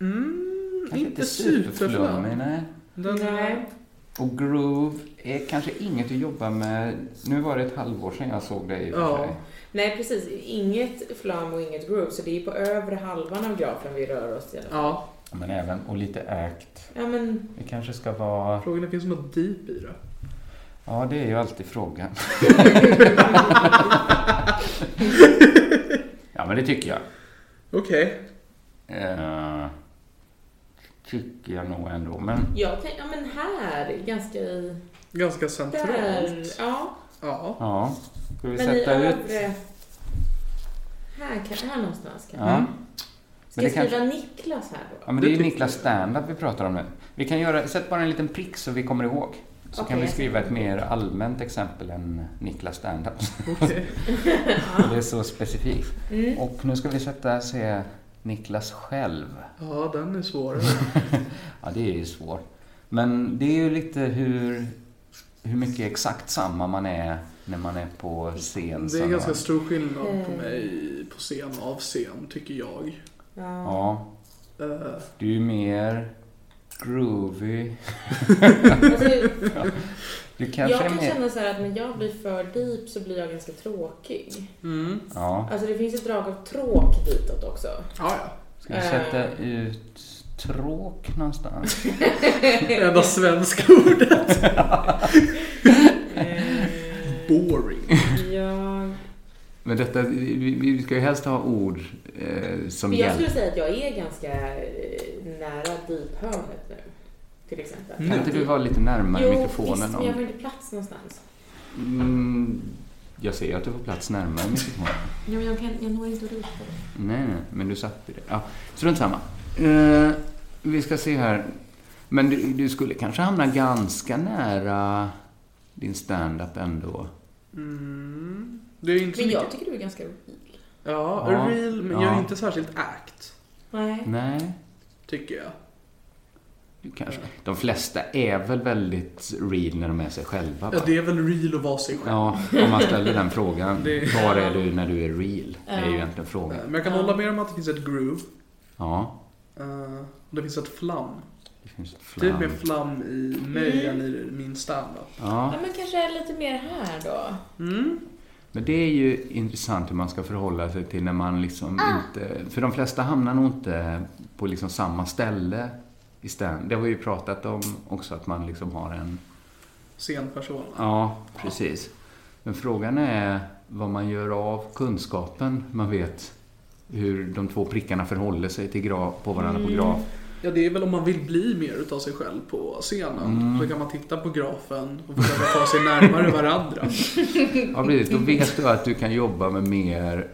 A: Mm,
B: Kanske
A: inte superflam.
B: superflummig, nej.
A: Den är...
B: Och groove är kanske inget att jobba med. Nu var det ett halvår sedan jag såg dig i och för
A: Ja.
B: sig.
C: Nej, precis. Inget flam och inget groove. Så det är ju på övre halvan av grafen vi rör oss i alla fall.
A: Ja,
B: Men även, och lite act.
C: Ja, men...
B: Det kanske ska vara...
A: frågan är finns det något deep i det?
B: Ja, det är ju alltid frågan. ja, men det tycker jag.
A: Okej.
B: Eh, tycker jag nog ändå, men...
C: Jag tänk, ja, men här. Ganska i...
A: Ganska
C: Där.
A: centralt.
C: Ja.
A: Ja.
B: Ja. Ska vi
C: Men i
B: sätta ut...
C: övre... Här, kan, här någonstans kanske.
B: Ja.
C: Ska
B: Men det
C: jag skriva Niklas här då?
B: Ja, men
A: Det
B: det är ju
A: tycker
B: Niklas standup vi pratar om nu. Vi kan göra, sätt bara en liten prick så vi kommer ihåg. Så kan
C: Okej.
B: vi skriva ett mer allmänt exempel än Niklas standup.
A: Okej.
B: det är så specifikt.
C: Mm.
B: Och nu ska vi sätta, se Niklas själv.
A: Ja, den är svårare.
B: Ja, det är ju svårt. Men det är ju lite hur, hur mycket exakt samma man är när man är på scen.
A: Det är
B: som-
A: ganska stor skillnad på mig på scen och av scen, tycker jag.
C: Ja.
B: Ja,
A: Eh,
B: du är ju mer groovy.
C: Alltså,
B: Du kanske
C: Jag kan
B: är mer...
C: känna så här att när jag blir för deep så blir jag ganska tråkig.
A: Mm.
B: Ja.
C: Alltså det finns ett drag av tråk ditåt också.
A: Ja, ja.
B: Ska vi sätta
C: Eh.
B: ut tråk någonstans?
A: Enda svenska ordet.
C: Eh,
A: Boring.
C: jag...
B: Men detta, vi, vi ska ju helst ha ord eh, som
C: Men jag
B: hjälp.
C: skulle säga att jag är ganska eh, nära deep-hörnet nu. Till exempel.
B: Kan inte du vara lite närmare
C: jo,
B: mikrofonen?
C: visst, men jag har
B: Om...
C: inte plats någonstans.
B: Mm, jag ser ju att du får plats närmare mikrofonen.
C: Ja, men jag, kan, jag når inte att rita.
B: Nej, nej, men du satte det. Ja, strunt samma. Eh, vi ska se här. Men du, du skulle kanske hamna ganska nära din stand-up ändå.
A: Mm. Det är inte så
C: Men jag
A: mycket-
C: tycker du är ganska real.
A: Ja,
B: Ja.
A: real, men jag är
B: Ja.
A: inte särskilt act,
C: Nej.
B: Nej,
A: tycker jag.
B: du kanske. De flesta är väl väldigt real när de är sig själva?
A: Ja,
B: va?
A: det är väl real att vara sig själv.
B: Ja, om man ställer den frågan.
A: Det-
B: Var är du när du är real? Det är ju
C: Ja.
B: egentligen frågan.
A: Eh, Men jag kan hålla med om att det finns ett groove.
B: Ja,
A: eh, och det finns ett flam.
B: det finns ett
A: Typ
B: flam.
A: mer flam i mig
C: Mm.
A: än i min standup.
B: Ja,
C: Ja, men kanske lite mer här då.
A: Mm.
B: men det är ju intressant hur man ska förhålla sig till när man liksom inte... För de flesta hamnar nog inte på liksom samma ställe i stand. Det har vi ju pratat om också, att man liksom har en...
A: Scenperson.
B: Ja, precis. Men frågan är vad man gör av kunskapen man vet hur de två prickarna förhåller sig till graf, på varandra på graf.
A: Ja, det är väl om man vill bli mer utav sig själv på scenen.
B: Mm.
A: Så kan man titta på grafen och försöka ta sig närmare varandra.
B: Ja, precis. Då vet du att du kan jobba med mer,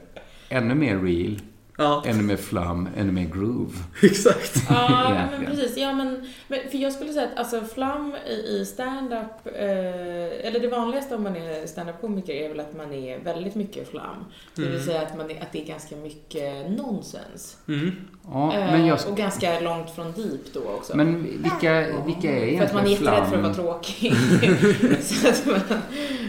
B: ännu mer real,
A: Ja,
B: ännu mer flum, ännu mer groove.
A: exakt.
C: Ja, men
B: Egentligen.
C: precis. Ja, men, men, för jag skulle säga att alltså, flam i, i stand-up, eh, eller det vanligaste om man är stand-up-komiker är väl att man är väldigt mycket flam. Det vill säga att, man är, att det är ganska mycket nonsens.
A: Mm.
B: Ja,
C: Eh,
B: men, jag,
C: Och ganska långt från deep då också.
B: men vilka, vilka är
C: Typ. för att man är
B: egentligen
C: jätterädd för att vara
B: flam?
C: tråkig. Så att man,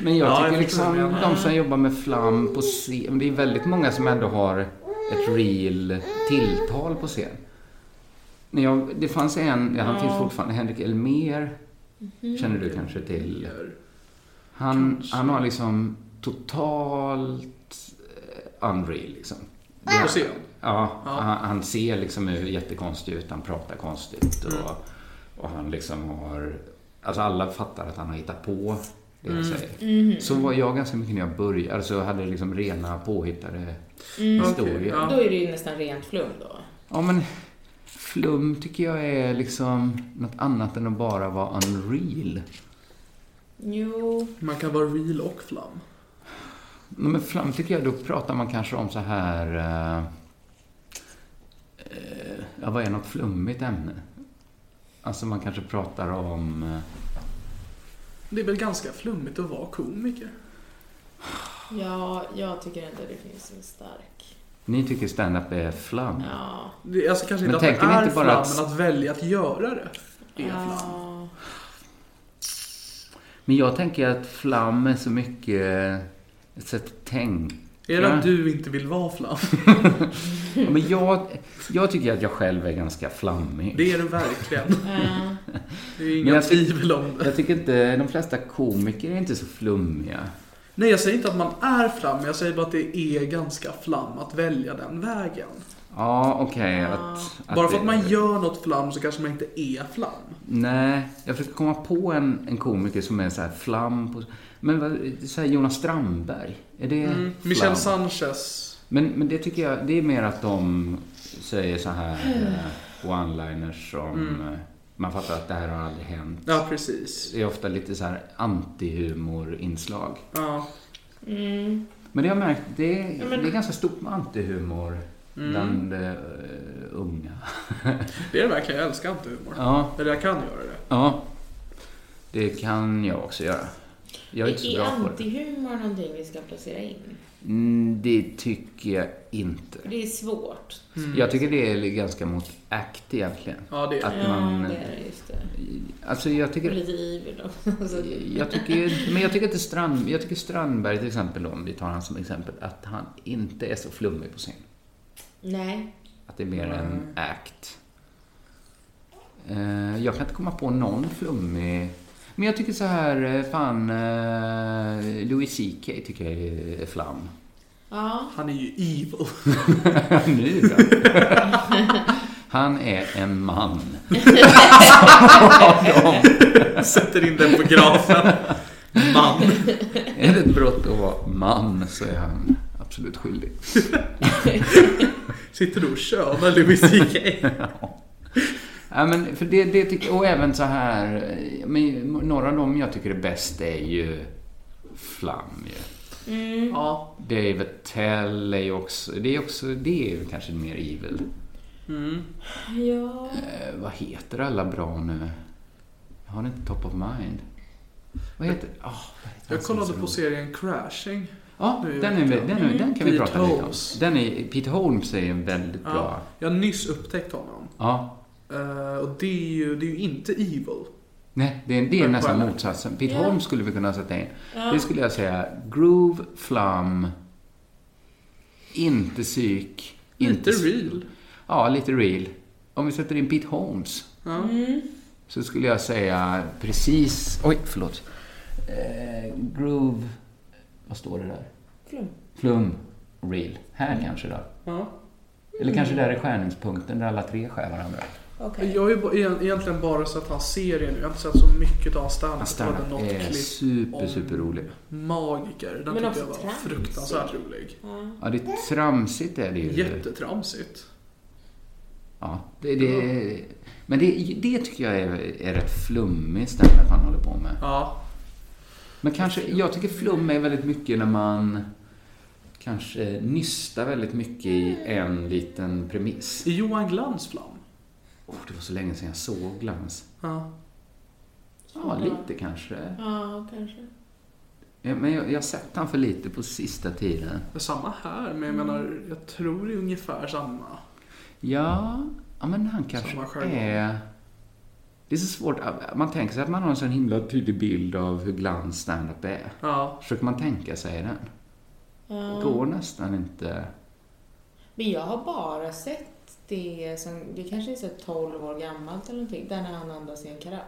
B: Men jag
A: Ja,
B: tycker
A: jag förstår vad du
B: liksom
A: menar.
B: de som jobbar med flam på scen, det är väldigt många som ändå har ett real tilltal på scen. När jag, det fanns en, ja, han finns fortfarande, Henrik Elmer
C: Mhm.
B: känner du kanske till. Han, han har liksom totalt eh, unreal liksom.
A: På scen.
B: Ja,
A: Ja.
B: Han, han ser liksom ut- jättekonstig ut, han pratar konstigt och,
A: Mm.
B: och han liksom har... Alltså alla fattar att han har hittat på det han
A: Mm.
B: säger. Så var jag ganska mycket när jag började, alltså jag hade liksom rena påhittade historier.
A: Mm. Okej,
C: då
A: ja.
C: är det ju nästan rent flum då.
B: Ja men flum tycker jag är liksom något annat än att bara vara unreal.
C: Jo.
A: Man kan vara real och flam.
B: Nej, men flam tycker jag, då pratar man kanske om så här... eh, eh, ja, vad är något flummigt ämne? Alltså man kanske pratar om... eh,
A: Det är väl ganska flummigt att vara komiker.
C: Ja, jag tycker ändå det finns en stark...
B: ni tycker stand-up är flum.
C: Ja.
A: Det, alltså kanske
B: Men
A: inte att det
B: tänker ni
A: är
B: inte bara
A: flam,
B: att-
A: men att välja att göra det är flam.
C: ja.
B: Men jag tänker att flam är så mycket eh, ett sätt att tänka.
A: Är det
B: Ja.
A: att du inte vill vara flam?
B: Ja, Men jag, jag tycker att jag själv är ganska flammig.
A: Det är du verkligen.
C: Eh,
A: Det är
B: Men
A: inga
B: jag ty-
A: tvivel om det.
B: Jag tycker inte, de flesta komiker är inte så flummiga.
A: Nej, jag säger inte att man är flam, men jag säger bara att det är ganska flam att välja den vägen.
B: Ja, okej. att, att
A: Bara för att
B: det-
A: man gör något flam så kanske man inte är flam.
B: Nej, jag försöker komma på en, en komiker som är så här flam på... Men vad, så här Jonas Strandberg, är det
A: Mm.
B: flam?
A: Michel Sanchez.
B: Men, men det tycker jag, det är mer att de säger så här eh, one-liners som... eh, Man fattar att det här har aldrig hänt.
A: Mm. Ja, precis.
B: Det är ofta lite så här antihumorinslag.
A: Ja.
C: mm.
B: Men det har jag märkt, det är,
C: men-
B: det är ganska stort med antihumor
A: Mm.
B: bland eh, unga.
A: Det är det verkligen. Jag älskar inte humor.
B: ja,
A: Eller jag kan göra det.
B: ja. Det kan jag också göra. Jag är inte så
C: Är
B: bra på det.
C: antihumor någonting vi ska placera in?
B: Mm, det tycker jag inte.
C: För det är svårt.
B: Jag tycker det är ganska mot act egentligen.
A: Ja, det är
B: Att
A: det.
C: Ja,
B: man...
C: det är det, just det.
B: Alltså jag
C: Och
B: tycker...
C: lite evil också. Så-
B: Jag tycker, ju- men jag tycker, inte Strand, jag tycker Strandberg till exempel, om vi tar han som exempel, att han inte är så flummig på scen.
C: Nej.
B: Att det är mer en act. Eh, Jag kan inte komma på någon flummig... Men jag tycker så här, eh, fan, eh, Louis CK tycker jag är flam.
D: Ja.
A: Han är ju evil.
B: nu då? Han är en man.
A: Sätter in den på grafen. Man.
B: Är det ett brott att vara man så är han absolut skyldig.
A: Sitter du och könar Louis CK?
B: Ja, men för det, det tycker, och även så här, eh, men några av dem jag tycker är bäst är ju flam ju.
A: Ja.
B: Dave Attell är ju också, det är också, det är ju kanske mer evil.
A: Mm.
D: Ja.
B: Eh, vad heter alla bra nu? Jag har inte top of mind. Vad heter, oh,
A: Jag kollade på serien Crashing.
B: Ja,
A: nu
B: den, är,
A: vet
B: den,
A: jag.
B: är, den kan vi
A: Mm. Pete
B: prata lite om.
A: Holmes.
B: Den är, Pete Holmes är ju en väldigt bra.
A: Ja. Jag har nyss upptäckt honom.
B: Ja.
A: Eh, och det är, ju, det är ju inte evil.
B: Nej, det är, det är
A: Men
B: nästan
A: bara-
B: motsatsen. Pete
D: Ja.
B: Holmes skulle vi kunna sätta in.
D: Ja.
B: Det skulle jag säga. Groove, flum, inte psyk.
A: Inte
B: psyk.
A: real.
B: Ja, lite real. Om vi sätter in Pete Holmes
A: Ja.
B: så skulle jag säga precis... Oj, förlåt. Eh, groove... Vad står det där?
D: Flum.
B: Flum, real. Här kanske då.
A: Ja.
B: Eller kanske där är skärningspunkten där alla tre skär varandra.
D: Okej.
A: Jag har ju ba- e- egentligen bara sett hans serie nu. Jag har inte sett så mycket av hans
B: Han
A: standup. Jag hade något
B: är
A: klipp
B: Eh, super,
A: om
B: super rolig.
A: Magiker. Den
D: Men
A: tyckte
D: också
A: jag var
D: tramsig.
A: fruktansvärt rolig.
B: Ja, det är tramsigt är det ju.
A: Jättetramsigt.
B: Ja, det, det, men det, det tycker jag är, är rätt flummig standup han håller på med.
A: Ja.
B: Men kanske, jag tycker flum är väldigt mycket när man kanske nystar väldigt mycket i en liten premiss.
A: Är Johan Glans flam?
B: Oh, det var så länge sedan jag såg Glans.
A: Ja.
B: Ja, lite kanske.
D: Ja, kanske.
B: Ja, men jag, jag har sett han för lite på sista tiden.
A: Men Samma här, men jag menar, jag tror det är ungefär samma.
B: Ja, ja men han kanske
A: Samma jargong.
B: är... Det är så svårt. Man tänker sig att man har en sån himla tydlig bild av hur glans standup är.
A: Ja.
B: Försöker man tänka sig den?
D: Ja.
C: Mm.
B: Det går nästan inte.
D: Men jag har bara sett det som, det kanske är så 12 år gammalt eller någonting, där när han andas i en karaff.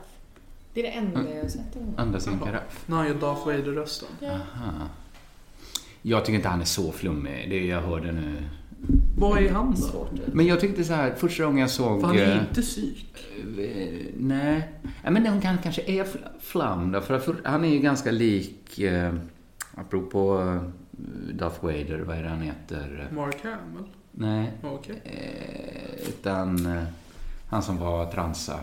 D: Det är det
B: Mm.
D: enda jag har sett av honom.
B: Andas i en karaff.
A: När han gör Darth Vader-rösten.
B: Aha. Jag tycker inte han är så flummig. Det är jag hörde nu.
A: Vad är han då?
D: Svårt. ut.
B: Men jag tyckte så här, första gången jag såg...
A: För han är
B: eh,
A: inte psyk.
B: eh, Nej. Nej, men hon kan, kanske är fl- flam då, för, att för han är ju ganska lik... Eh, apropå eh, Darth Vader, vad är det han heter?
A: Mark Hamill.
B: Nej.
A: Okej.
B: Eh, utan eh, han som var transa.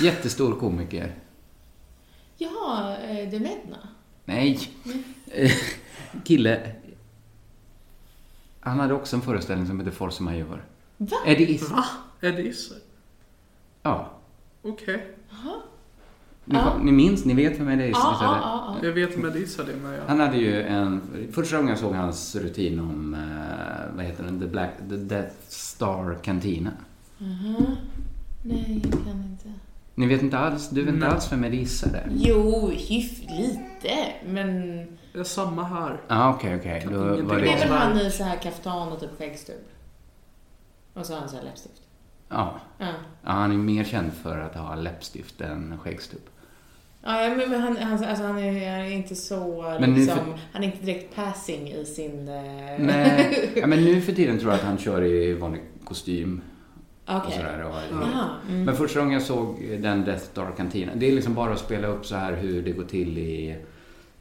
B: Jättestor komiker.
D: Jaha, eh, Demedna?
B: Nej. Eh, Kille. Han hade också en föreställning som hette Force Major.
D: Va?
B: Eddie Is-
A: Va? Eddie Isser?
B: Ja.
A: Okej.
B: Ni, ni minns, ni vet vem Eddie Isser
D: Ja,
B: är?
D: ja, ja.
A: Jag vet om Eddie Isser det, men jag...
B: Han hade ju en... Första gången jag såg hans rutin om, eh, vad heter den, The, Black, The Death Star Cantina.
D: Aha. Nej, jag kan inte.
B: Ni vet inte alls, du vet inte
A: Nej.
B: alls vem Eddie Isser är?
D: Jo, hyf lite, men...
A: Det är samma här.
B: Ja, ah, okej, okej. Då
A: Ingenting
B: var
D: Det är väl
B: det...
A: om-
D: han i så här kaftan och typ skäggstubb? Och så har han så här läppstift.
B: Ja.
D: Ja,
B: Ja, han är mer känd för att ha läppstift än skäggstubb.
D: ja ja, men, men han, han, alltså, han är är inte så
B: Men nu
D: liksom...
B: för-
D: Han är inte direkt passing i sin... eh,
B: Nej, ja, men nu för tiden tror jag att han kör i vanlig kostym och
D: Okej.
B: sådär. Och har-
D: Jaha, mm.
B: Men första gången jag såg eh, den Death Star Cantina, det är liksom bara att spela upp så här hur det går till i,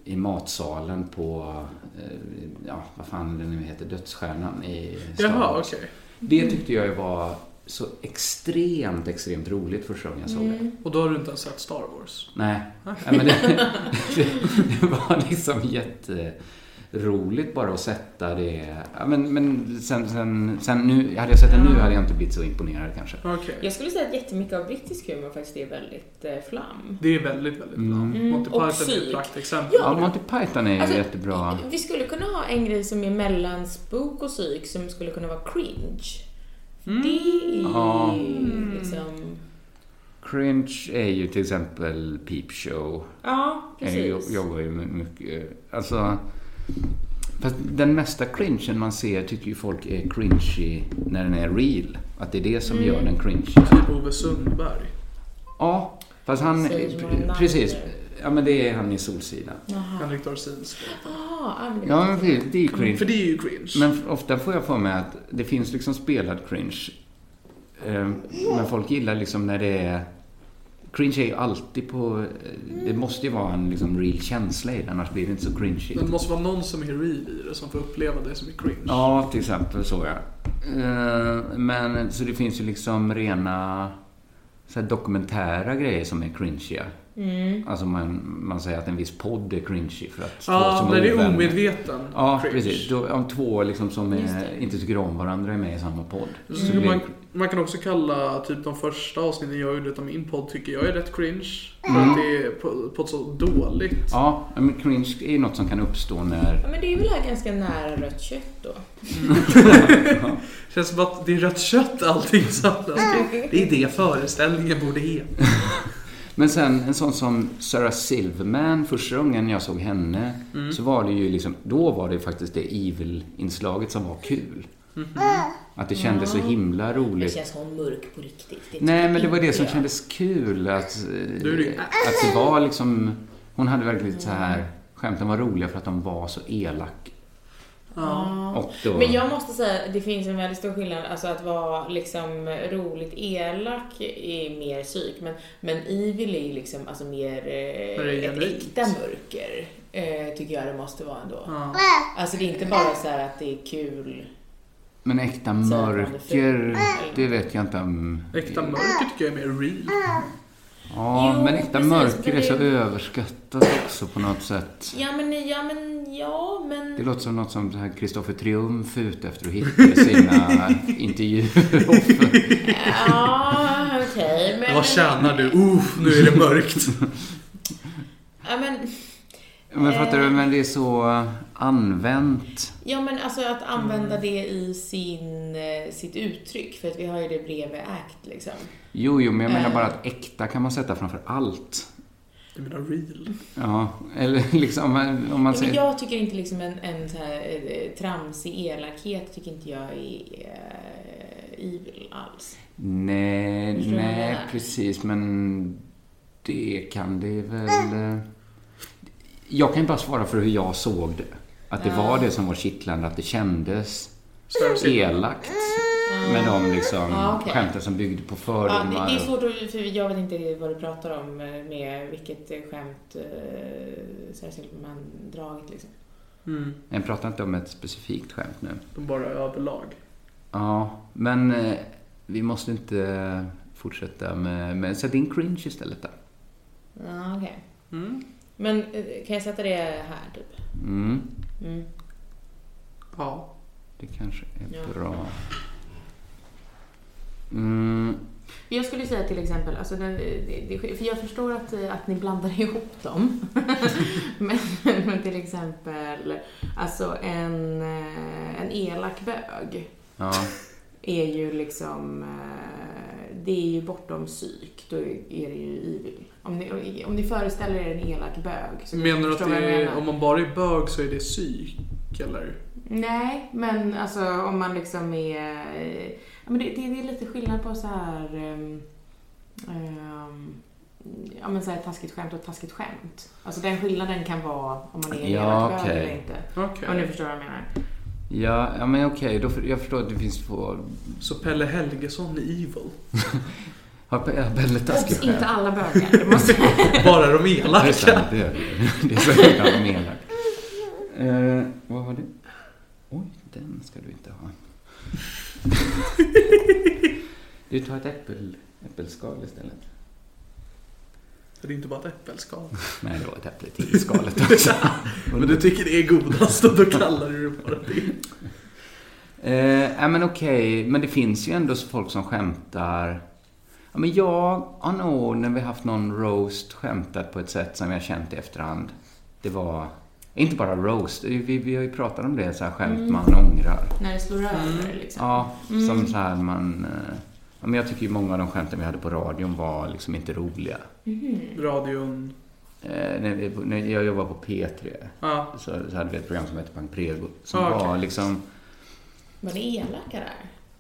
B: i matsalen på, eh, ja vad fan det nu heter, Dödsstjärnan i Star
A: Jaha,
B: Wars.
A: okej.
B: Det tyckte jag ju var så extremt, extremt roligt första gången jag såg det.
A: Och då har du inte ens sett Star Wars?
B: Nej,
A: Ah.
B: ja, men det, det, det var liksom jätteroligt bara att sätta det. Ja, men men sen, sen, sen nu, hade jag sett det nu hade jag inte blivit så imponerad kanske.
A: Okej.
D: Jag skulle säga att jättemycket av brittisk humor faktiskt är väldigt eh, flam.
A: Det är väldigt, väldigt bra.
B: Mm.
A: Monty
D: Mm, Och
A: Python är ett
D: psyk.
A: praktexempel.
B: Ja, Monty Python är ju jättebra.
D: Vi skulle kunna ha en grej som är mellan spook och psyk som skulle kunna vara cringe. Det är
B: Ja.
D: ju liksom...
B: Cringe är ju till exempel Peep Show.
D: Ja,
B: Jag jo-
D: precis.
B: jobbar ju med mycket, alltså... Fast den mesta cringen man ser tycker ju folk är cringy när den är real. Att det är det som gör den cringe.
A: Ove Typ Sundberg.
B: Ja, fast han...
C: Säger som han är
B: Precis.
C: namn.
B: Ja, men det är han i Solsidan.
C: Jaha.
A: Henrik Dorsinsko.
C: Ah, Arvid.
B: Ja, men det, det är cringe.
A: För det är ju cringe.
B: Men f- ofta får jag för mig att det finns liksom spelad cringe. Eh, Men folk gillar liksom när det är... Cringe är ju alltid på... eh, Det måste ju vara en liksom real känsla i det, annars blir det inte så cringeigt.
A: Men det måste vara någon som är real i det som får uppleva det som är cringe.
B: Ja, till exempel så ja. Eh, Men så det finns ju liksom rena så här dokumentära grejer som är cringiga.
A: Mm.
B: Alltså man, man säger att en viss podd är cringy för att
A: Ja,
B: som
A: när det
B: ovänner-
A: är omedveten
B: Ja,
A: cringe.
B: precis. Då, om två liksom som
C: Just
B: är,
C: det.
B: inte tycker om varandra är med i samma podd. Så
A: Så
B: det blir-
A: Mm. Man, man kan också kalla typ de första avsnitten jag gjorde utav min podd tycker jag är rätt cringe. För att det är på, på ett så dåligt.
B: Ja, men cringe är ju något som kan uppstå när...
C: Ja, men det är väl här ganska nära rött kött då?
A: Känns som att det är rött kött allting samlas kring. Det är det föreställningen borde heta.
B: Men sen en sån som Sarah Silverman, första gången jag såg henne,
A: Mm.
B: så var det ju liksom, då var det faktiskt det evil-inslaget som var kul.
A: Mm-hmm.
B: Att det kändes så himla
C: Det
B: roligt.
C: känns hon mörk på riktigt. Det
B: Nej,
C: tycker
B: men det var det
C: inte
B: som
C: jag.
B: kändes kul. Att, eh,
A: Då är det-
B: att det var liksom... Hon hade verkligen så här... Skämten var roliga för att de var så elak. Och då,
C: Men jag måste säga, det finns en väldigt stor skillnad. Alltså att vara liksom roligt elak är mer psyk. Men, men evil är ju liksom alltså mer
A: Men det är
C: eh, ett
A: genuint.
C: äkta mörker. Eh, tycker jag det måste vara ändå. Alltså det är inte bara så här att det är kul.
B: men äkta
C: Så här var det
B: mörker,
C: förr.
B: det vet jag inte om.
A: Äkta mörker tycker jag är mer real.
B: Ja,
C: Jo,
B: men äkta
C: precis,
B: mörker är
C: men
B: så
C: det-
B: överskattat också på något sätt.
C: Ja men, ja men, ja men.
B: Det låter som något som så här Kristoffer Triumf är ute efter att hitta i sina intervjuer.
C: Ja, okej. men-
A: Vad tjänar du? Uff, nu är det mörkt.
C: Ja men,
B: Men fattar
C: Eh.
B: du, men det är så använt.
C: ja, men alltså att använda
B: Mm.
C: det i sin, eh, sitt uttryck. För att vi har ju det bredvid act liksom.
B: Jo, jo, men jag
C: Eh.
B: menar bara att äkta kan man sätta framför allt.
A: Du menar real?
B: Ja, eller liksom om man- om man
C: Ja, men
B: säger...
C: jag tycker inte liksom en, en så här eh, tramsig elakhet tycker inte jag är eh, evil alls.
B: Nej,
C: Förstår du vad jag
B: nej,
C: menar?
B: precis, men det kan det väl... eh, Jag kan ju bara svara för hur jag såg det. Att det var det som var kittlande, att det kändes elakt med de liksom
C: Ja, okej.
B: skämten som byggde på
C: Ja,
B: fördomar.
C: det, det är svårt att, för jag vet inte vad du pratar om eh, med vilket eh, skämt eh, Sarah Silverman dragit liksom.
A: Mm,
B: Jag pratar inte om ett specifikt skämt nu.
A: de bara överlag.
B: Ja, men eh, vi måste inte fortsätta med... med sätt in cringe istället där.
C: Ja, okej.
A: Mm.
C: Men eh, kan jag sätta det här typ?
B: Mm,
C: Mm.
A: Ja.
B: det kanske är
C: Ja.
B: bra. Mm,
C: Jag skulle säga till exempel, alltså den, det, det, för jag förstår att, eh, att ni blandar ihop dem. men, men till exempel, alltså en, eh, en elak bög
B: ja.
C: är ju liksom, eh, det är ju bortom psyk, då är det ju evil. Om ni, om ni föreställer er en elak bög. så
A: Menar du att
C: förstår vad jag
A: det är,
C: menar.
A: om man bara är bög så är det psyk, eller?
C: Nej, men alltså om man liksom är... Ja, men det, det, det är lite skillnad på så här... ehm, ehm, ja, men så här taskigt skämt och taskigt skämt. Alltså den skillnaden kan vara om man är en
B: Ja,
C: elak bög
B: okej.
C: eller inte.
A: Okej.
C: Om ni förstår vad jag menar.
B: Ja, ja, men okej, då för, jag förstår att det finns två...
A: Så Pelle Helgesson är evil?
B: Har Pe- har Pelle taskigt
C: Obs,
B: skämt?
C: inte alla bögar. Det måste...
A: Bara de
B: Ja, Det är
A: elaka?
B: sant, det är det. Det är så jävla menat. Eh, vad var det? Oj, den ska du inte ha. Du tar ett äppel, äppelskal istället.
A: Det är inte bara ett äppelskal.
B: Nej, då ett äpple till i skalet också.
A: Men du tycker det är godast och då kallar du det bara det.
B: Eh, ja, men okej, men det finns ju ändå så folk som skämtar. Ja, men jag har nog, när vi haft någon roast, skämtat på ett sätt som jag känt i efterhand. Det var, inte bara roast, vi, vi har ju pratat om det, så här skämt man ångrar.
C: När det slår över liksom.
B: Ja, som så här man... eh, Ja, men jag tycker ju många av de skämten vi hade på radion var liksom inte roliga.
A: Radion...
B: Eh, när, vi, när jag jobbade på P3
A: Ja.
B: så, så hade vi ett program som hette Pang Prego som
A: Ah,
B: var
A: okej.
B: liksom...
C: Var ni elaka där?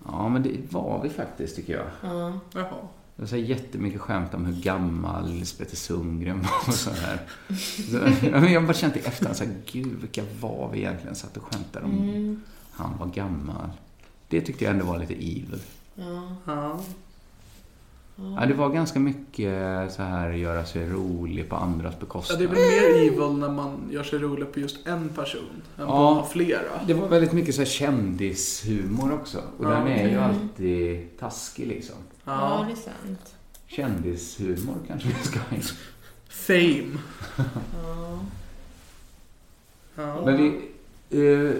B: Ja, men det var vi faktiskt tycker jag.
C: Ja.
A: Jaha.
B: Jag säger jättemycket skämt om hur gammal Lisbeth Sundgren var och sådär. Så, ja, men jag har bara känt i efterhand såhär, gud vilka var vi egentligen satt och skämtade om
D: Mm.
B: han var gammal. Det tyckte jag ändå var lite evil.
D: Ja.
A: Ja.
B: Ja, det var ganska mycket så här göra sig rolig på andras
A: ja,
B: bekostnad.
A: det blir mer evil när man gör sig rolig på just en person än på
B: Ja.
A: flera.
B: Det var väldigt mycket så här kändishumor också. Och
A: Ja,
B: den är
A: okej.
B: ju alltid taskig liksom.
D: ja,
A: Ja.
D: det är sant.
B: Kändishumor kanske vi ska ha in.
A: Fame.
D: Ja.
A: Ja.
B: Men vi... eh,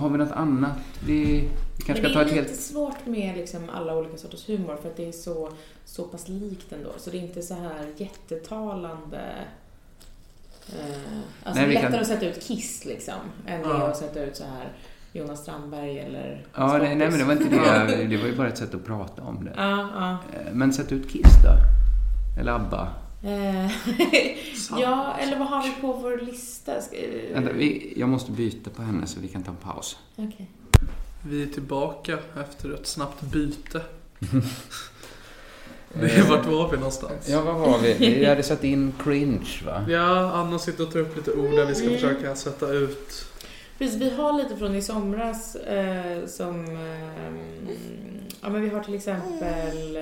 B: har vi något annat? Vi, vi kanske
D: Men
B: ska ta
D: det
B: ett
D: är
B: helt...
D: lite svårt med liksom alla olika sorters humor för att det är så, så pass likt ändå. Så det är inte så här jättetalande. Eh, alltså det
B: Nej, vi
D: är lättare
B: kan-
D: att sätta ut Kiss liksom än det
A: Ja.
D: är att sätta ut så här Jonas Strandberg eller
B: Ja, nej, nej, men det var inte det.
A: Ja.
B: Det var ju bara ett sätt att prata om det.
D: Ja, ja.
B: Eh, Men sätt ut Kiss då. Eller ABBA.
D: Eh,
A: Sant.
D: ja, eller vad har vi på vår lista? Ska- eh,
B: Vänta, vi, jag måste byta på henne så vi kan ta en paus.
D: okej.
A: Vi är tillbaka efter ett snabbt byte. Det är vart var vi någonstans?
B: Ja, var var vi? Vi hade satt in cringe, va?
A: Ja, Anna sitter och tar upp lite ord där vi ska försöka sätta ut.
D: Precis, vi har lite från i somras eh, som... Eh, mm, ja, men vi har till exempel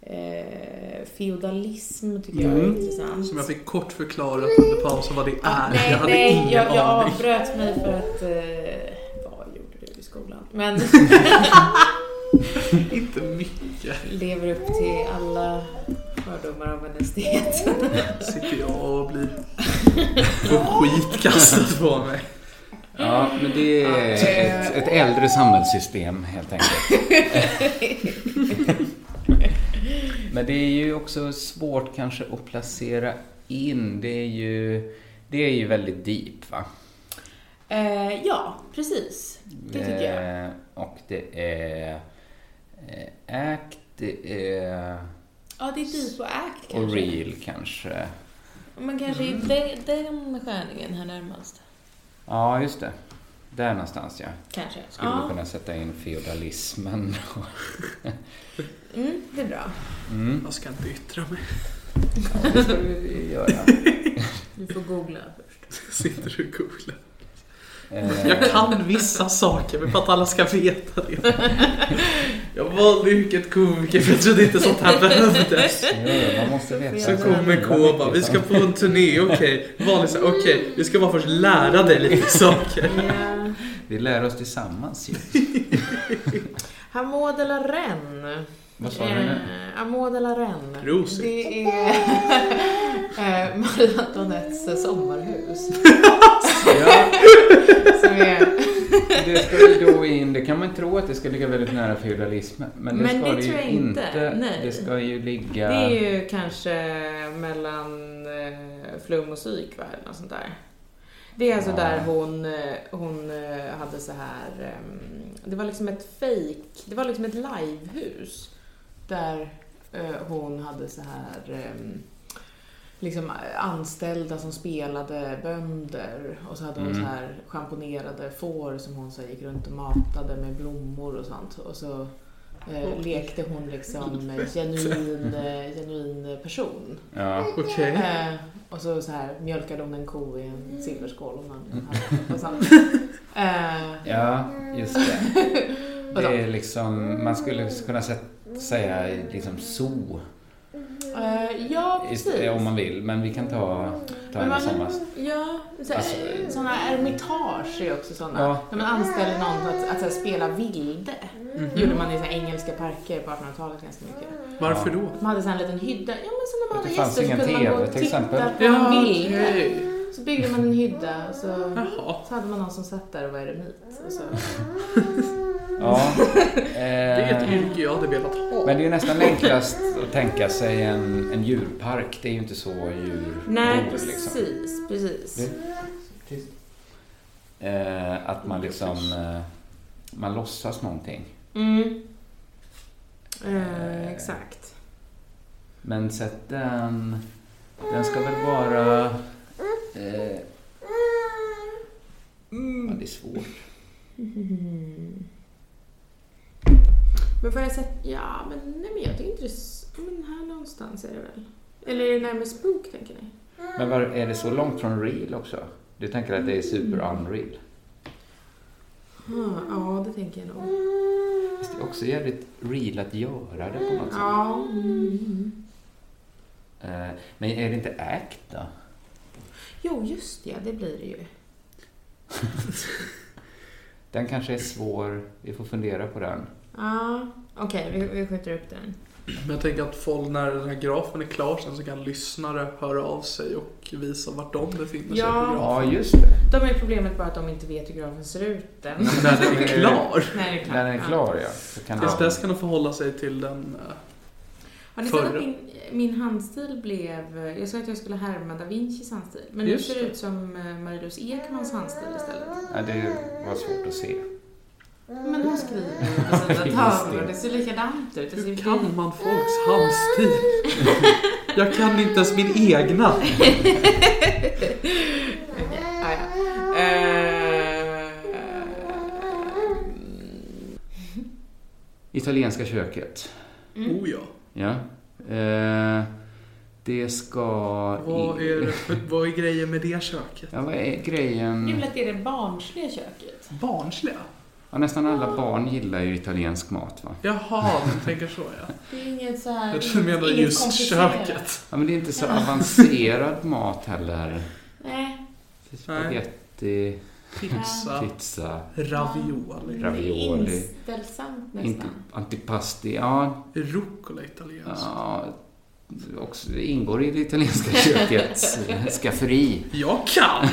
D: eh, feodalism tycker jag är
B: Mm.
D: intressant.
A: Som jag fick kort förklarat under pausen vad det
D: Ah,
A: är.
D: nej,
A: jag hade
D: nej,
A: ingen
D: jag, jag
A: aning.
D: avbröt mig för att... Eh, vad gjorde du i skolan? Men
A: Inte mycket.
D: lever upp till alla fördomar om identitet.
A: Sitter jag och blir... Får skit kastat på mig.
B: Ja, men det är ett, ett äldre samhällssystem helt enkelt. men det är ju också svårt kanske att placera in. Det är ju, det är ju väldigt deep, va?
D: Eh, ja, precis. Det tycker jag.
B: Eh, Och det är eh, act, det är
D: Ja, det är deep och act kanske.
B: och Mm. real kanske.
D: Men kanske i den, den skärningen här närmast.
B: Ja, just det. Där någonstans, ja.
D: Kanske.
B: Skulle
D: ja.
B: vi kunna sätta in feodalismen.
D: Mm, det är bra.
B: Mm,
A: Jag ska inte yttra mig.
B: det ska vi göra.
D: Du får googla först.
A: Sitter och googlar.
B: Eh,
A: Jag kan vissa saker, men för att alla ska veta det. Jag valde yrket komiker för jag trodde inte sånt här behövdes.
B: Jo, jo, man måste veta.
A: Så kommer K och bara, vi ska på en turné, okej. Vanligt så här, okej, vi ska bara först lära dig lite saker.
C: Eh,
D: Ja.
B: Vi lär oss tillsammans ju.
C: Hamoud eller Ren?
B: Vad sa du
C: Eh.
B: nu?
C: Hamoud eller Ren?
A: Rosigt.
C: Det är eh, Marie Antoinettes sommarhus.
B: Ja,
C: Som är,
B: det ska ju då in. Det kan man tro att det ska ligga väldigt nära feodalismen. Men det
C: Men
B: ska
C: det
B: det
C: tror
B: ju
C: jag inte.
B: inte.
C: Nej.
B: Det ska ju
C: det
B: ligga...
C: är ju kanske mellan eh, Flum och Psyk va, eller något sånt där. Det är alltså
B: Ja.
C: där hon, eh, hon eh, hade så här, ehm, det var liksom ett fake, det var liksom ett livehus. Där eh, hon hade så här ehm, liksom anställda som spelade bönder och så hade hon
B: Mm.
C: så här schamponerade får som hon så här, gick runt och matade med blommor och sånt. Och så eh, lekte hon liksom eh, genuin, eh, genuin person.
B: Ja.
A: Okej.
B: Äh,
C: Eh, och så, så här mjölkade hon en ko i en silverskål. Och
B: Mm.
C: man och sånt. Eh,
B: ja, just det.
C: Vadå?
B: Det är liksom... Man skulle kunna sä- säga liksom zoo.
C: eh, ja,
B: ist-
C: precis.
B: Om man vill. Men vi kan ta, ta
C: Men
B: en
C: man-
B: tillsammans.
C: Ja, så, eh,
B: Alltså-
C: sådana ermitage är också sådana.
B: Ja.
C: När man anställer någon att, att, så här, spela vilde.
B: Mm-hmm.
C: gjorde man i så här, engelska parker på 1800-talet ganska mycket.
A: Varför då?
C: Man hade så här en liten hydda. Ja, men så när man
B: Det
C: hade
B: fanns
C: gäster så
B: ingen
C: kunde man gå
B: TV
C: och
B: till
C: titta
B: exempel.
C: på en bild.
A: okej.
C: Så byggde man en hydda och så,
A: Jaha.
C: så hade man någon som satt där och var eremit. Och så.
B: Ja.
A: Det är
B: eh,
A: ett yrke jag hade velat ha.
B: Men det är ju nästan enklast att tänka sig en, en djurpark. Det är ju inte så djur
C: Nej,
B: bor, liksom.
C: precis. precis.
B: Eh, att man liksom... Eh, man låtsas någonting.
C: Mm. Eh, exakt.
B: Men sätt den... Den ska väl vara... Eh,
C: Mm.
B: ja, det är svårt.
C: Men får jag sätta... Ja, men, nej, men jag tycker inte det... är s- Men här någonstans är det väl? Eller är det närmare Spook, tänker ni?
B: Men var, är det så långt från real också? Du tänker att det är super unreal?
C: Ja, ja, det tänker jag nog.
B: Fast det är också jävligt real att göra det på något sätt.
C: Ja. Mm.
B: Eh, Men är det inte act då?
C: Jo, just ja, det blir det ju.
B: Den kanske är svår. Vi får fundera på den.
C: Ja, okej, vi, vi skjuter upp den.
A: Men jag tänker att folk, när den här grafen är klar sen så kan lyssnare höra av sig och visa vart de befinner sig
C: Ja.
A: på grafen.
B: Ja, just det.
C: De är problemet bara att de inte vet hur graven ser ut än.
A: När den är klar.
C: När den är klar.
B: När den är
C: Ja.
B: klar, ja. Så kan
A: Tills
B: de-
A: dess kan de förhålla sig till den. eh,
C: Har ni sett att
A: Förra.
C: min, min handstil blev... Jag sa att jag skulle härma da Vincis handstil, men nu
A: Just
C: ser det
A: det.
C: ut som eh, Marie-Louise Ekmans handstil istället.
B: Ja, det var svårt att se.
C: Men hon skriver på sina tavlor, det ser likadant ut. Det ser
A: Hur
C: ut-
A: kan man folks handstil? Jag kan inte ens min egna.
C: Okej, ah, ja. Eh,
B: Italienska köket.
C: Mm.
A: Oh ja.
B: Ja. Eh, det ska...
A: Vad är, det för- vad är grejen med det köket?
B: Ja, vad är
D: Det är
B: grejen?
D: väl att det är det barnsliga köket?
A: Barnsliga?
B: Ja, nästan alla barn gillar ju italiensk mat, va?
A: Jaha, du tänker så ja.
D: Det är inget så här...
A: Jag tror du menar
D: inget
A: just
D: komplicerat.
A: köket.
B: Ja, men det är inte så avancerad mat heller.
D: Nej.
B: Spaghetti,
A: Pizza,
B: pizza,
A: ravioli,
B: Ravioli.
D: Det är Inställsamt
B: inte,
D: nästan.
B: antipasti. Ja,
A: rucola italiensk.
B: ja också, det ingår i det italienska kökets skafferi.
A: Jag kan!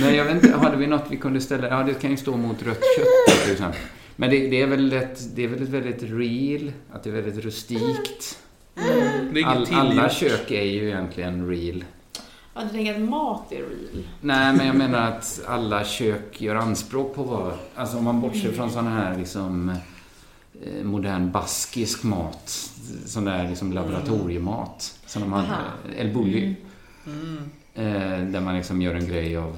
B: Men jag vet inte, hade vi något vi kunde ställa? Ja, det kan ju stå mot rött kött till exempel. Men det, det, är väl ett, det är väl ett väldigt real, att det är väldigt rustikt.
A: Mm. Det är
B: All,
A: inget
B: alla
A: tillgjort.
B: kök är ju egentligen real.
D: Ja, du tänker att mat är real?
B: Nej, men jag menar att alla kök gör anspråk på vad... Alltså om man bortser från sån här liksom eh, modern baskisk mat, sån där liksom laboratoriemat som de hade,
D: Aha.
B: El Bulli,
A: Mm.
B: eh, där man liksom gör en grej av,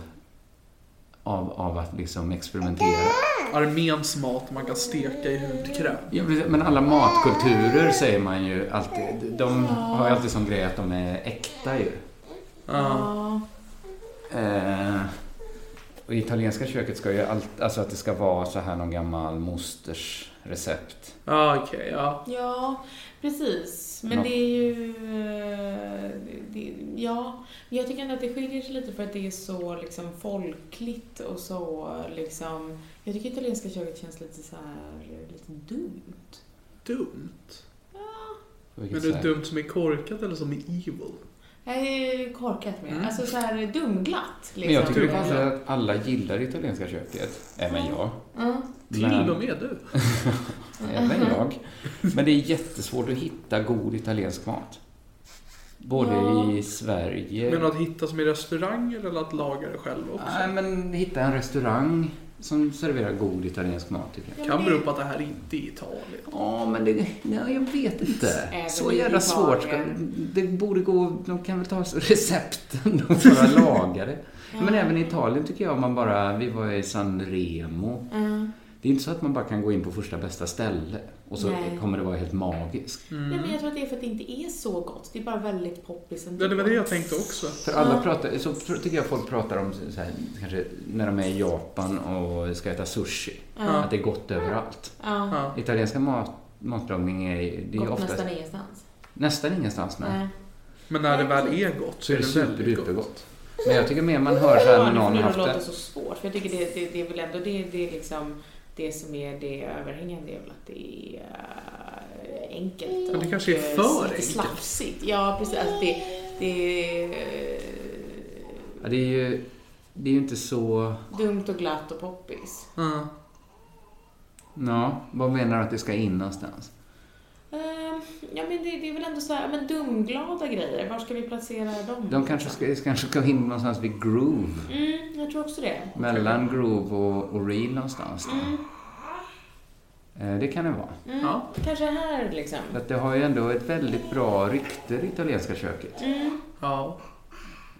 B: av, av att liksom experimentera.
A: Arméns mat man kan steka i hudkräm.
B: Ja, men- men alla matkulturer säger man ju alltid. De har ju alltid som grej att de är äkta ju.
A: Ja.
B: Eh, och i italienska köket ska ju allt, alltså att det ska vara så här någon gammal mosters recept.
A: Ja, okej, ja.
D: Ja, precis. Men
B: Ja.
D: det är ju... eh, Det, ja, jag tycker ändå att det skiljer sig lite för att det är så liksom folkligt och så liksom... Jag tycker italienska köket känns lite så här lite dumt.
A: Dumt.
B: På vilket
A: Men det är
B: sätt?
A: dumt som är korkat eller som är evil?
D: Jag är korkat med.
A: Mm.
D: Alltså så här dumglatt liksom.
B: Men jag tycker
A: Dumt.
B: kanske att alla gillar det italienska köket. Även jag.
D: Ja.
A: Till
B: Men-
A: och med du.
B: Även jag. Men det är jättesvårt att hitta god italiensk mat. Både
D: Ja.
B: i Sverige...
A: Men att hitta som i restaurang eller att laga det själv också?
B: Nej, men hitta en restaurang som serverar god italiensk mat tycker jag.
D: Ja,
A: Kan
D: men det-
A: bero på att det här inte är Italien.
B: Ja, men det... Nej, jag vet inte.
D: Även
B: Så
D: i
B: jävla
D: Italien.
B: svårt. ska- Det borde gå... De kan väl ta recepten och bara laga det. Men även i Italien tycker jag man bara... Vi var i San Remo.
D: Ja.
B: Det är inte så att man bara kan gå in på första bästa ställe och så
D: Nej.
B: kommer det vara helt magiskt.
C: Mm.
A: Mm.
D: Nej, men jag tror att det är för att det inte är så gott. Det är bara väldigt poppis ändå.
A: Ja, det var det jag tänkte också.
B: För alla pratar, så pr- tycker jag folk pratar om så här, kanske när de är i Japan och ska äta sushi. Att det är gott överallt.
D: Ja.
A: Ja.
B: Italienska mat, matlagning är, det är
D: Gott
B: oftast
D: nästan ingenstans.
B: nästan, ingenstans. Nej.
D: Nej.
A: Men när det väl är gott
B: Så
A: så
B: är
A: är
B: det
A: det väldigt gott.
B: superdupergott. Men jag tycker mer man hör så här när någon har
D: det
B: haft
D: låter
B: det.
D: så svårt. För jag tycker det, det, det är väl ändå det, det, är liksom, det som är det överhängande är väl att det är eh, enkelt.
A: Ja, det
D: och,
A: kanske är
D: eh,
A: för
D: lite
A: enkelt.
D: Slafsigt. Ja, precis. Alltså det, det är
B: Ja, det är ju det är ju inte så...
D: eh, dumt och glatt och poppis.
A: Ja.
B: Ja, vad menar du att det ska in någonstans?
D: Ehm, ja, men det, det är väl ändå så här, men dumglada grejer. Var ska vi placera dem?
B: De kanske ska, kanske ska in någonstans vid groove.
D: Mm, jag tror också det.
B: Mellan groove och, och reel någonstans. Där. Eh, Det kan det vara.
D: Mm,
A: Ja.
D: Kanske här liksom. Mm.
B: För Att det har ju ändå ett väldigt bra rykte, det italienska köket.
A: ja.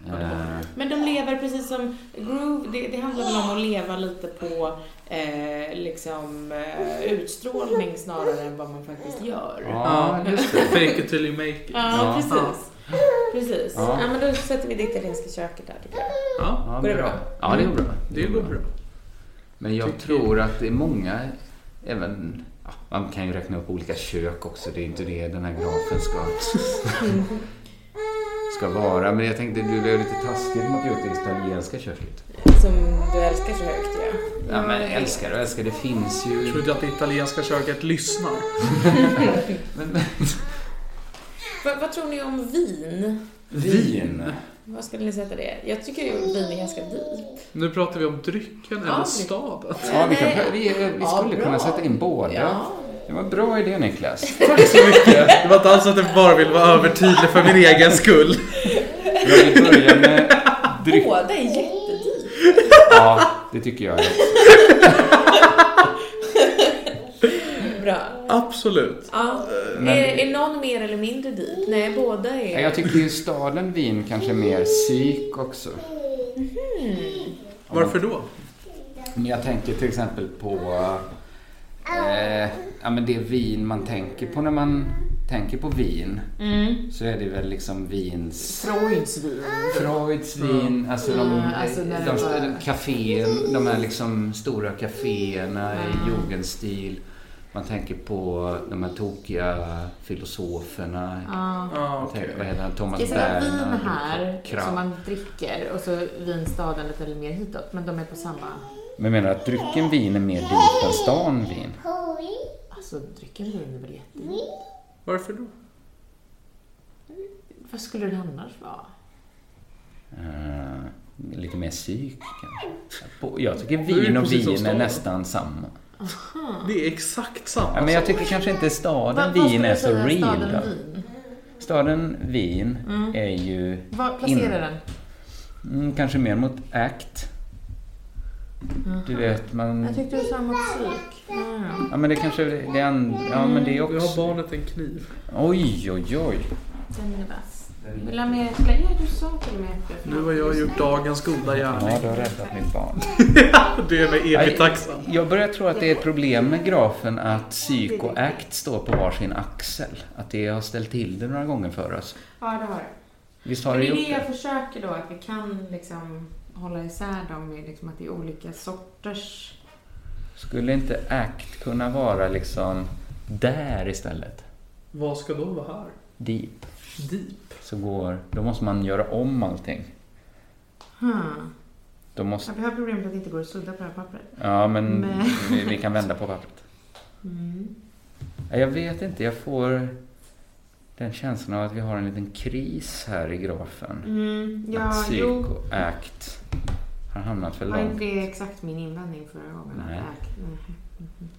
A: Ja, det var det.
B: Eh,
D: Men de lever precis som groove, det, det handlar väl om att leva lite på eh, liksom, eh, utstrålning snarare än vad man faktiskt gör. Ja,
B: Ja, just det.
A: Fake it till you make it.
B: Ja.
D: precis. Precis.
B: Ja.
D: Ja. men då sätter vi det italienska köket där. tycker jag.
A: Ja,
B: Ja,
D: Går det bra?
B: Ja, det går bra.
A: det går bra.
B: Men jag
A: Tycker-
B: tror att det är många, även, ja, man kan ju räkna upp olika kök också, det är inte det den här grafen ska, ska vara. Men jag tänkte, du blev lite taskigt mot just det italienska köket.
D: Som du älskar så högt ja.
B: Ja, men jag älskar och älskar, det finns ju...
A: Jag trodde att det italienska köket lyssnar.
B: Men,
D: Va, vad tror ni om vin?
B: vin!
D: Vad skulle ni sätta det? Jag tycker ju vin är ganska dyrt.
A: Nu pratar vi om drycken
D: Ja,
A: eller
D: det-
A: staden.
B: Ja, vi, kan, vi, vi
D: Ja,
B: skulle
D: bra.
B: kunna sätta in båda.
D: Ja.
B: Det var en bra idé Niklas.
A: Tack så mycket. Det var inte alls att jag bara vill vara övertydlig för min egen skull.
B: Jag vill börja med dryck.
D: Båda är jättedyrt.
B: Ja, det tycker jag.
D: Bra.
A: Absolut.
D: Ja.
B: Men-
D: Är, är någon mer eller mindre dyrt? Nej, båda
B: Ja,
D: är...
B: Jag tycker ju staden vin kanske är mer psyk också.
A: Varför då?
B: Men jag tänker till exempel på eh, ja, men det vin man tänker på när man tänker på vin.
C: Mm.
B: Så är det väl liksom vins...
C: Freuds vin.
B: Freuds vin, alltså de,
C: Mm, alltså när
B: de,
C: det var-
B: kafén, de här liksom stora kaféerna
C: Mm.
B: i jugendstil. Man tänker på de här tokiga filosoferna.
A: Ah,
B: Jag
A: okej.
B: tänker- Vad heter han? Thomas
C: Det är säkert vin
B: Berner.
C: här som
B: Kram.
C: man dricker och så vinstaden lite mer hitåt. Men de är på samma...
B: Men menar du att drycken vin är mer dyrt än stan vin?
C: Alltså drycken vin är väl jättedyrt?
A: Varför då?
C: Vad skulle det annars vara?
B: Eh, lite mer psyk kanske. På- Jag tycker
A: är det
B: vin och
A: precis som
B: vin är
A: staden.
B: nästan samma.
A: Det är exakt samma
B: Ja, men jag
A: sak.
B: tycker kanske inte
C: Vad-
B: staden
C: vad
B: vin
C: skulle
B: är
C: du
B: så
C: säga,
B: real.
C: staden Mm.
B: då.
C: Wien?
B: Staden vin är ju
C: Vad placerar
B: in-
C: den?
B: Mm, kanske mer mot act. Du vet, man...
C: Mm. Jag tyckte du sa mot psyk. Mm.
B: Ja, men det kanske... Det är en... Ja, men det är
A: Nu Mm, har
B: också...
A: barnet en kniv.
B: Oj, oj, oj.
C: Den är vass. Vill du ha mer äpple? Ja, du sa till och med äpple.
A: Nu har jag gjort dagens goda
B: Ja,
A: gärning.
B: du har räddat mitt barn.
A: Det är med evigt tacksam.
B: Jag börjar tro att det är ett problem med grafen att psyk och act står på varsin axel. Att det har ställt till det några gånger för oss.
C: Ja, det har du.
B: Visst har
C: Men
B: det
C: det är
B: gjort
C: det jag
B: det?
C: försöker då, att vi kan liksom hålla isär dem, är liksom att det är olika sorters...
B: Skulle inte act kunna vara liksom där istället?
A: Vad ska då vara här?
B: Deep.
A: Deep.
B: Så går... Då måste man göra om allting.
C: Hmm.
B: Då måste...
C: Ja, vi har problemet att det inte går att sudda på det här pappret.
B: Ja, men
C: Nej.
B: vi, vi kan vända på pappret. Mm. Ja, Jag vet inte, jag får den känslan av att vi har en liten kris här i grafen.
C: Mm, ja,
B: att
C: jo.
B: Psycho Act har hamnat för
C: Var
B: långt.
C: inte det exakt min invändning förra gången?
B: Nej.
C: Äk- mhm.
A: Mm,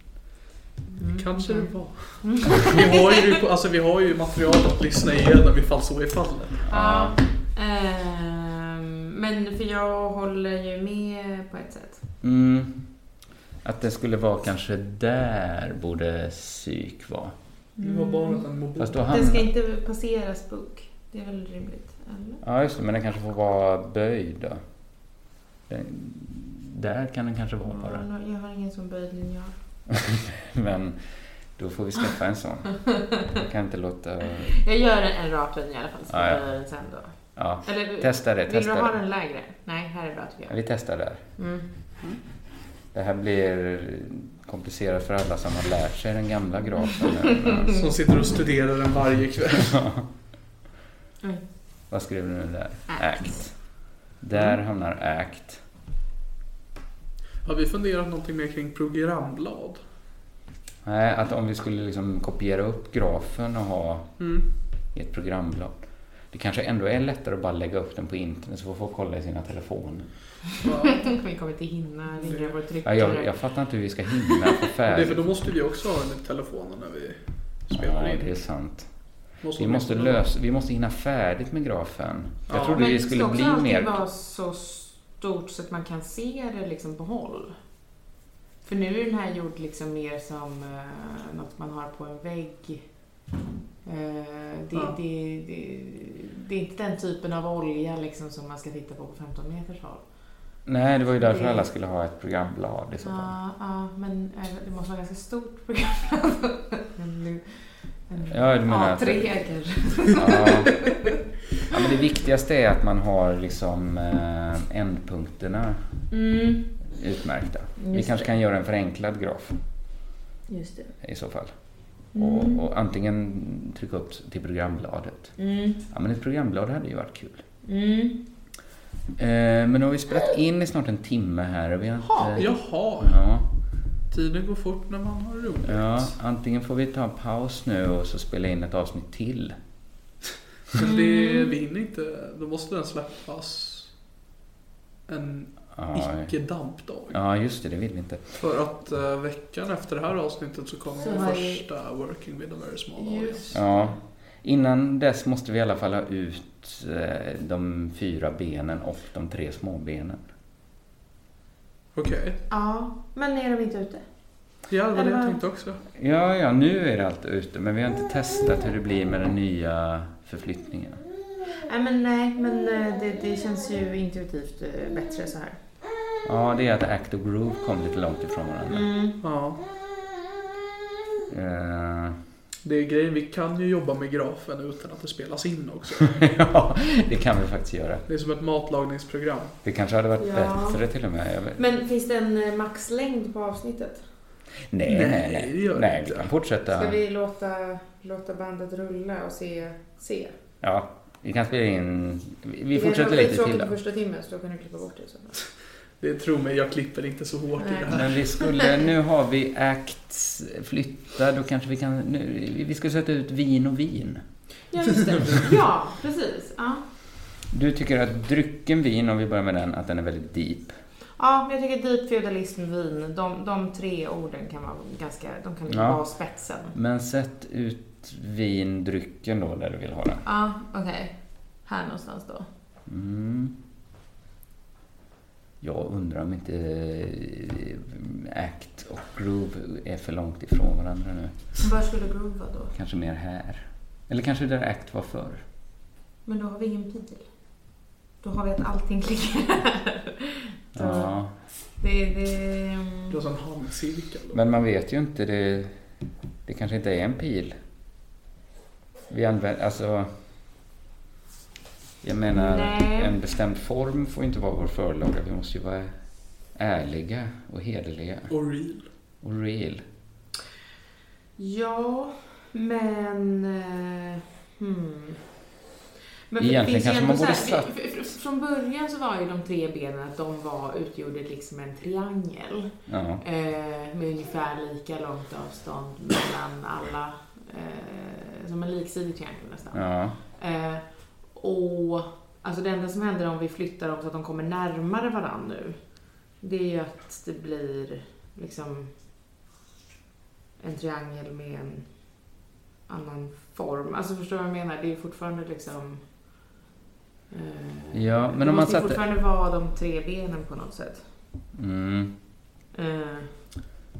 C: Mm.
A: Kanske det var. Vi har ju, alltså, vi har ju material att lyssna igenom ifall så är fallet.
C: Ja. Ehm, men för jag håller ju med på ett sätt.
B: Mm. Att det skulle vara kanske där borde psyk vara.
A: Nu har barnet en mobil.
B: Fast då
C: Den ska
B: hamnar...
C: inte passera spuk. Det är väl rimligt? Eller?
B: Ja, just det, men den kanske får vara böjd då. Den... Där kan den kanske vara bara.
C: Ja, Jag har ingen sån böjd linjal.
B: Men då får vi skaffa en sån. Jag kan inte låta...
C: Jag gör en, en rak linje i alla fall, så
B: Ah, Ja, ja.
C: gör den sen då.
B: Ja,
C: Eller,
B: testa det,
C: vill du ha
B: testa det.
C: den lägre? Nej, här är bra tycker
B: Ja, vi
C: jag.
B: testar där.
C: Mm.
B: Det här blir komplicerat för alla som har lärt sig den gamla grafen nu. Men
A: Som sitter och studerar den varje kväll.
C: Mm.
B: Vad skrev du nu där?
C: Act.
B: Act. Där hamnar act.
A: Har vi funderat någonting mer kring programblad?
B: Nej, att om vi skulle liksom kopiera upp grafen och ha
A: Mm.
B: i ett programblad. Det kanske ändå är lättare att bara lägga upp den på internet så får folk kolla i sina telefoner.
A: Ja.
C: Vi kommer inte hinna ringa vår
B: Ja,
C: tryckare.
B: jag, jag fattar inte hur vi ska hinna få
A: Det är för
B: färdigt.
A: då måste vi också ha den i telefonen när vi
B: Ja,
A: spelar
B: det är
A: in.
B: sant.
A: Måste
B: Vi måste, lösa, vi måste hinna färdigt med grafen. Jag
A: Ja,
B: trodde
C: Men
B: vi skulle bli
C: Det ska också alltid
B: mer...
C: vara så stort så att man kan se det liksom på håll. För nu är den här gjord liksom mer som eh, något man har på en vägg. Eh, det,
A: Ja.
C: det, det, det är inte den typen av olja liksom som man ska titta på på 15 meters håll.
B: Nej, det var ju därför
C: Det-
B: alla skulle ha ett programblad i så fall.
C: Ja, ja, men eh, det måste vara ganska stort program. en, en,
B: Ja, du menar att-
C: A3 kanske.
B: Ja. ja, men det viktigaste är att man har liksom eh, ändpunkterna
D: Mm,
B: utmärkta. Vi
D: Just
B: kanske
D: det.
B: kan göra en förenklad graf
D: just det.
B: i så fall.
D: Mm.
B: Och, och antingen trycka upp till programbladet.
D: Mm,
B: Ja, men ett programblad hade ju varit kul.
D: mm.
B: Eh, men nu har vi spelat in i snart en timme här och vi har
A: Ha,
B: inte...
A: jaha,
B: Ja,
A: tiden går fort när man har roligt.
B: ja, antingen får vi ta en paus nu och så spela in ett avsnitt till.
A: Men det vi hinner inte. Då måste den släppas en
B: Ja,
A: icke-dampdag.
B: ja just det, det vill vi inte.
A: För att eh, veckan efter det här avsnittet så kommer
C: Så
A: vår
C: har vi-
A: första Working with a very small audience.
C: Just
B: Ja. Innan dess måste vi i alla fall ha ut eh, de fyra benen och de tre småbenen.
A: Okej,
C: Ja, men är de inte ute?
A: ja det var det jag
C: Eller-
A: tänkte också.
B: Ja, ja, nu är det allt ute, men vi har inte testat hur det blir med den nya förflyttningen.
C: Nej, men, nej, men eh, det, det känns ju intuitivt eh, bättre så här.
B: Ja, det är att Act och Groove kom lite långt ifrån varandra.
C: Mm.
A: Ja,
B: Eh,
A: det är grejen. Vi kan ju jobba med grafen utan att det spelas in också.
B: ja, det kan vi faktiskt göra.
A: Det är som ett matlagningsprogram.
B: Det kanske hade varit
C: Ja.
B: bättre till och med. Jag vet.
C: Men finns det en eh, maxlängd på avsnittet?
B: Nej,
A: Nej,
B: nej,
A: det
B: nej.
A: gör det
B: Nej, vi
A: inte.
B: kan fortsätta.
C: Ska vi låta, låta bandet rulla och se? se?
B: Ja, vi kan spela in. Vi, vi
C: Det
B: fortsätter
C: kanske var
B: lite till
C: skittråkigt
B: då.
C: på första timmen så då kan du klippa bort det i så fall.
A: Det tror mig, jag klipper inte så hårt i
C: Nej.
A: det här.
B: Men vi skulle, nu har vi Act flytta, då kanske vi kan, nu, vi ska sätta ut vin och vin.
C: Ja, just det. Ja, precis. Ja.
B: Du tycker att drycken vin, om vi börjar med den, att den är väldigt deep.
C: Ja, men jag tycker deep feudalism, vin, de, de tre orden kan vara ganska, de kan liksom
B: Ja.
C: vara spetsen.
B: Men sätt ut vin, drycken då, där du vill ha den.
C: Ja, okej. Här någonstans då.
B: Mm. Jag undrar om inte eh, Act och Groove är för långt ifrån varandra nu.
C: Var skulle groove vara då?
B: Kanske mer här. Eller kanske där Act var förr.
C: Men då har vi ingen pil. Då har vi att allting ligger här. Då-
B: Ja.
C: Det, det,
A: Det var som en handcirkel.
B: Men man vet ju inte, det, det kanske inte är en pil. Vi använder, alltså... Jag menar,
C: Nej.
B: en bestämd form får ju inte vara vår förlaga. Vi måste ju vara ärliga och hederliga
A: Och real.
B: och real.
C: ja, men... eh, Hmm. Men
B: Egentligen
C: finns ju
B: kanske
C: ändå
B: man
C: så
B: borde
C: här- f- f- f- Från början så var ju de tre benen att de var, utgjorde liksom en triangel.
B: Ja.
C: Eh, med ungefär lika långt avstånd mellan alla. Eh, som en liksidig triangel nästan.
B: ja.
C: Eh, och alltså det enda som händer om vi flyttar dem så att de kommer närmare varandra nu, det är ju att det blir liksom en triangel med en annan form. Alltså förstår du vad jag menar? Det är ju fortfarande liksom... Eh,
B: Ja, men
C: det
B: om man
C: måste ju
B: satte-
C: fortfarande vara de tre benen på något sätt.
B: Mm.
C: Eh,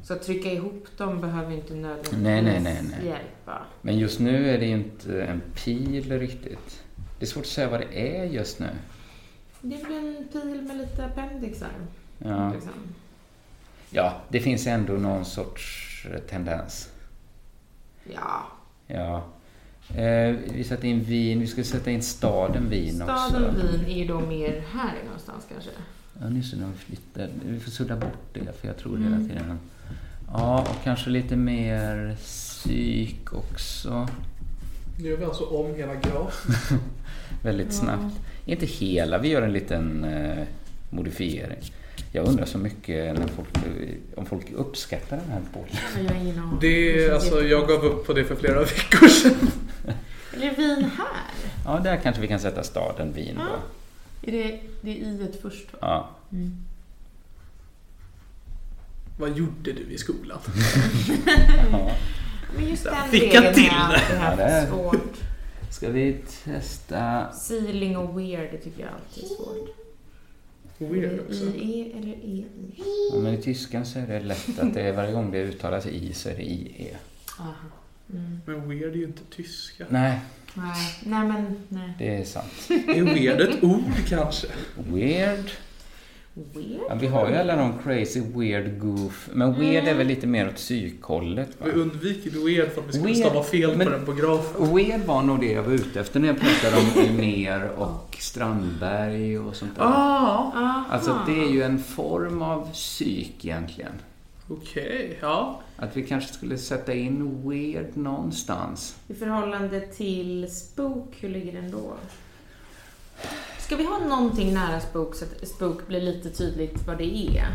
C: Så att trycka ihop dem behöver ju inte nödvändigtvis
B: Nej, nej, nej, nej.
C: hjälpa.
B: Men just nu är det ju inte en pil riktigt. Det är svårt att säga vad det är just nu.
C: Det är väl en pil med lite appendixar.
B: Ja,
C: Liksom.
B: ja det finns ändå någon sorts tendens.
C: Ja.
B: Ja. Eh, vi satte in Wien, vi skulle sätta in staden Wien också.
C: Staden Wien är ju då mer här någonstans kanske.
B: Ja, just det, de flyttar. Vi får sudda bort det, för jag tror hela tiden. Ja, och kanske lite mer psyk också.
A: Nu gör vi alltså om hela grafen.
B: Väldigt snabbt. Inte hela, vi gör en liten eh, modifiering. Jag undrar så mycket när folk, om folk uppskattar den här podden.
C: Men Jag har ingen aning.
A: Det,
C: känns
A: alltså,
C: jätte-
A: jag gav upp på det för flera veckor sedan.
C: Eller Wien här?
B: Ja, där kanske vi kan sätta staden Wien då.
C: Är det, det är i ett först va?
B: Ja.
C: Mm.
A: Vad gjorde du i skolan?
B: ja.
C: Men just den
A: Fick
C: regeln
A: jag till
C: har jag alltid
B: Ja, det är-
C: haft svårt.
B: Ska vi testa...
C: Sealing och weird, det tycker jag alltid är svårt.
A: Weird också.
C: I, E eller E, I.
B: Ja, men i tyskan så är det lätt att det är, varje gång det uttalas i E. så är det IE.
C: Aha.
A: Men weird är ju inte tyska.
B: Nej,
C: Nej, Mm. nej men nej.
B: Det är sant.
A: Är weird ett ord kanske?
B: Weird.
C: Weird.
B: Ja, vi har ju alla de crazy, weird, goof. Men weird är väl lite mer åt psykhållet? va?
A: Vi undviker weird för att vi skulle
B: Weird,
A: stava fel
B: men-
A: på den på grafen.
B: Weird var nog det jag var ute efter när jag pratade om Elmer och Strandberg och sånt där.
A: Ah,
B: Alltså det är ju en form av psyk egentligen.
A: okej. Ja.
B: Att vi kanske skulle sätta in weird någonstans.
C: I förhållande till spook, hur ligger den då? Ska vi ha någonting nära spook så att spook blir lite tydligt vad det är?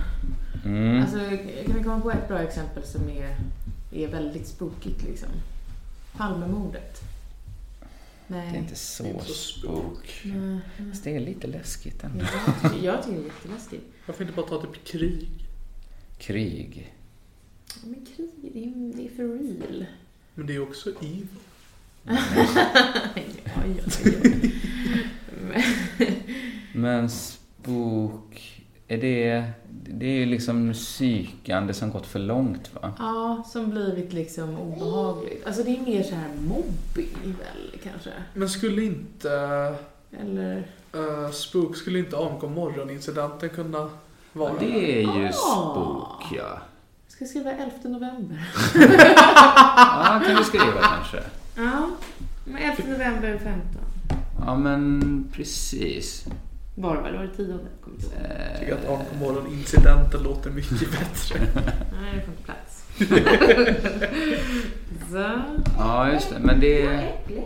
B: Mm.
C: Alltså, kan vi komma på ett bra exempel som är, är väldigt spookigt liksom? Palmemordet. Nej.
B: Det är inte så
A: så
B: spook.
C: Nej.
B: Fast det är lite läskigt ändå.
C: Jag, tycker- jag tycker det är jätteläskigt.
A: Varför inte bara ta typ krig?
B: Krig.
C: Ja, Men krig, det är, ju- det är för real.
A: Men det är också evil.
C: Oj, oj, oj, oj.
B: Men spook, är det, det är ju liksom psykande som gått för långt va?
C: Ja, som blivit liksom obehagligt. Alltså det är mer så här mobbing väl kanske?
A: Men skulle inte
C: Eller?
A: eh, Spook, skulle inte AMK morgonincidenten kunna vara?
B: Det är ju
C: Ah.
B: spook ja.
C: Jag ska skriva 11 november.
B: Ja, kan du skriva kanske.
C: Ja, men 11 november 15.
B: Ja, men precis.
C: Var det väl? Var det 10? Jag kommer inte ihåg.
A: Jag tycker att AMK morgonincidenten låter mycket bättre.
C: Nej, det får inte plats. Så.
B: Eh, Ja, just det. Men det...
C: Äpple är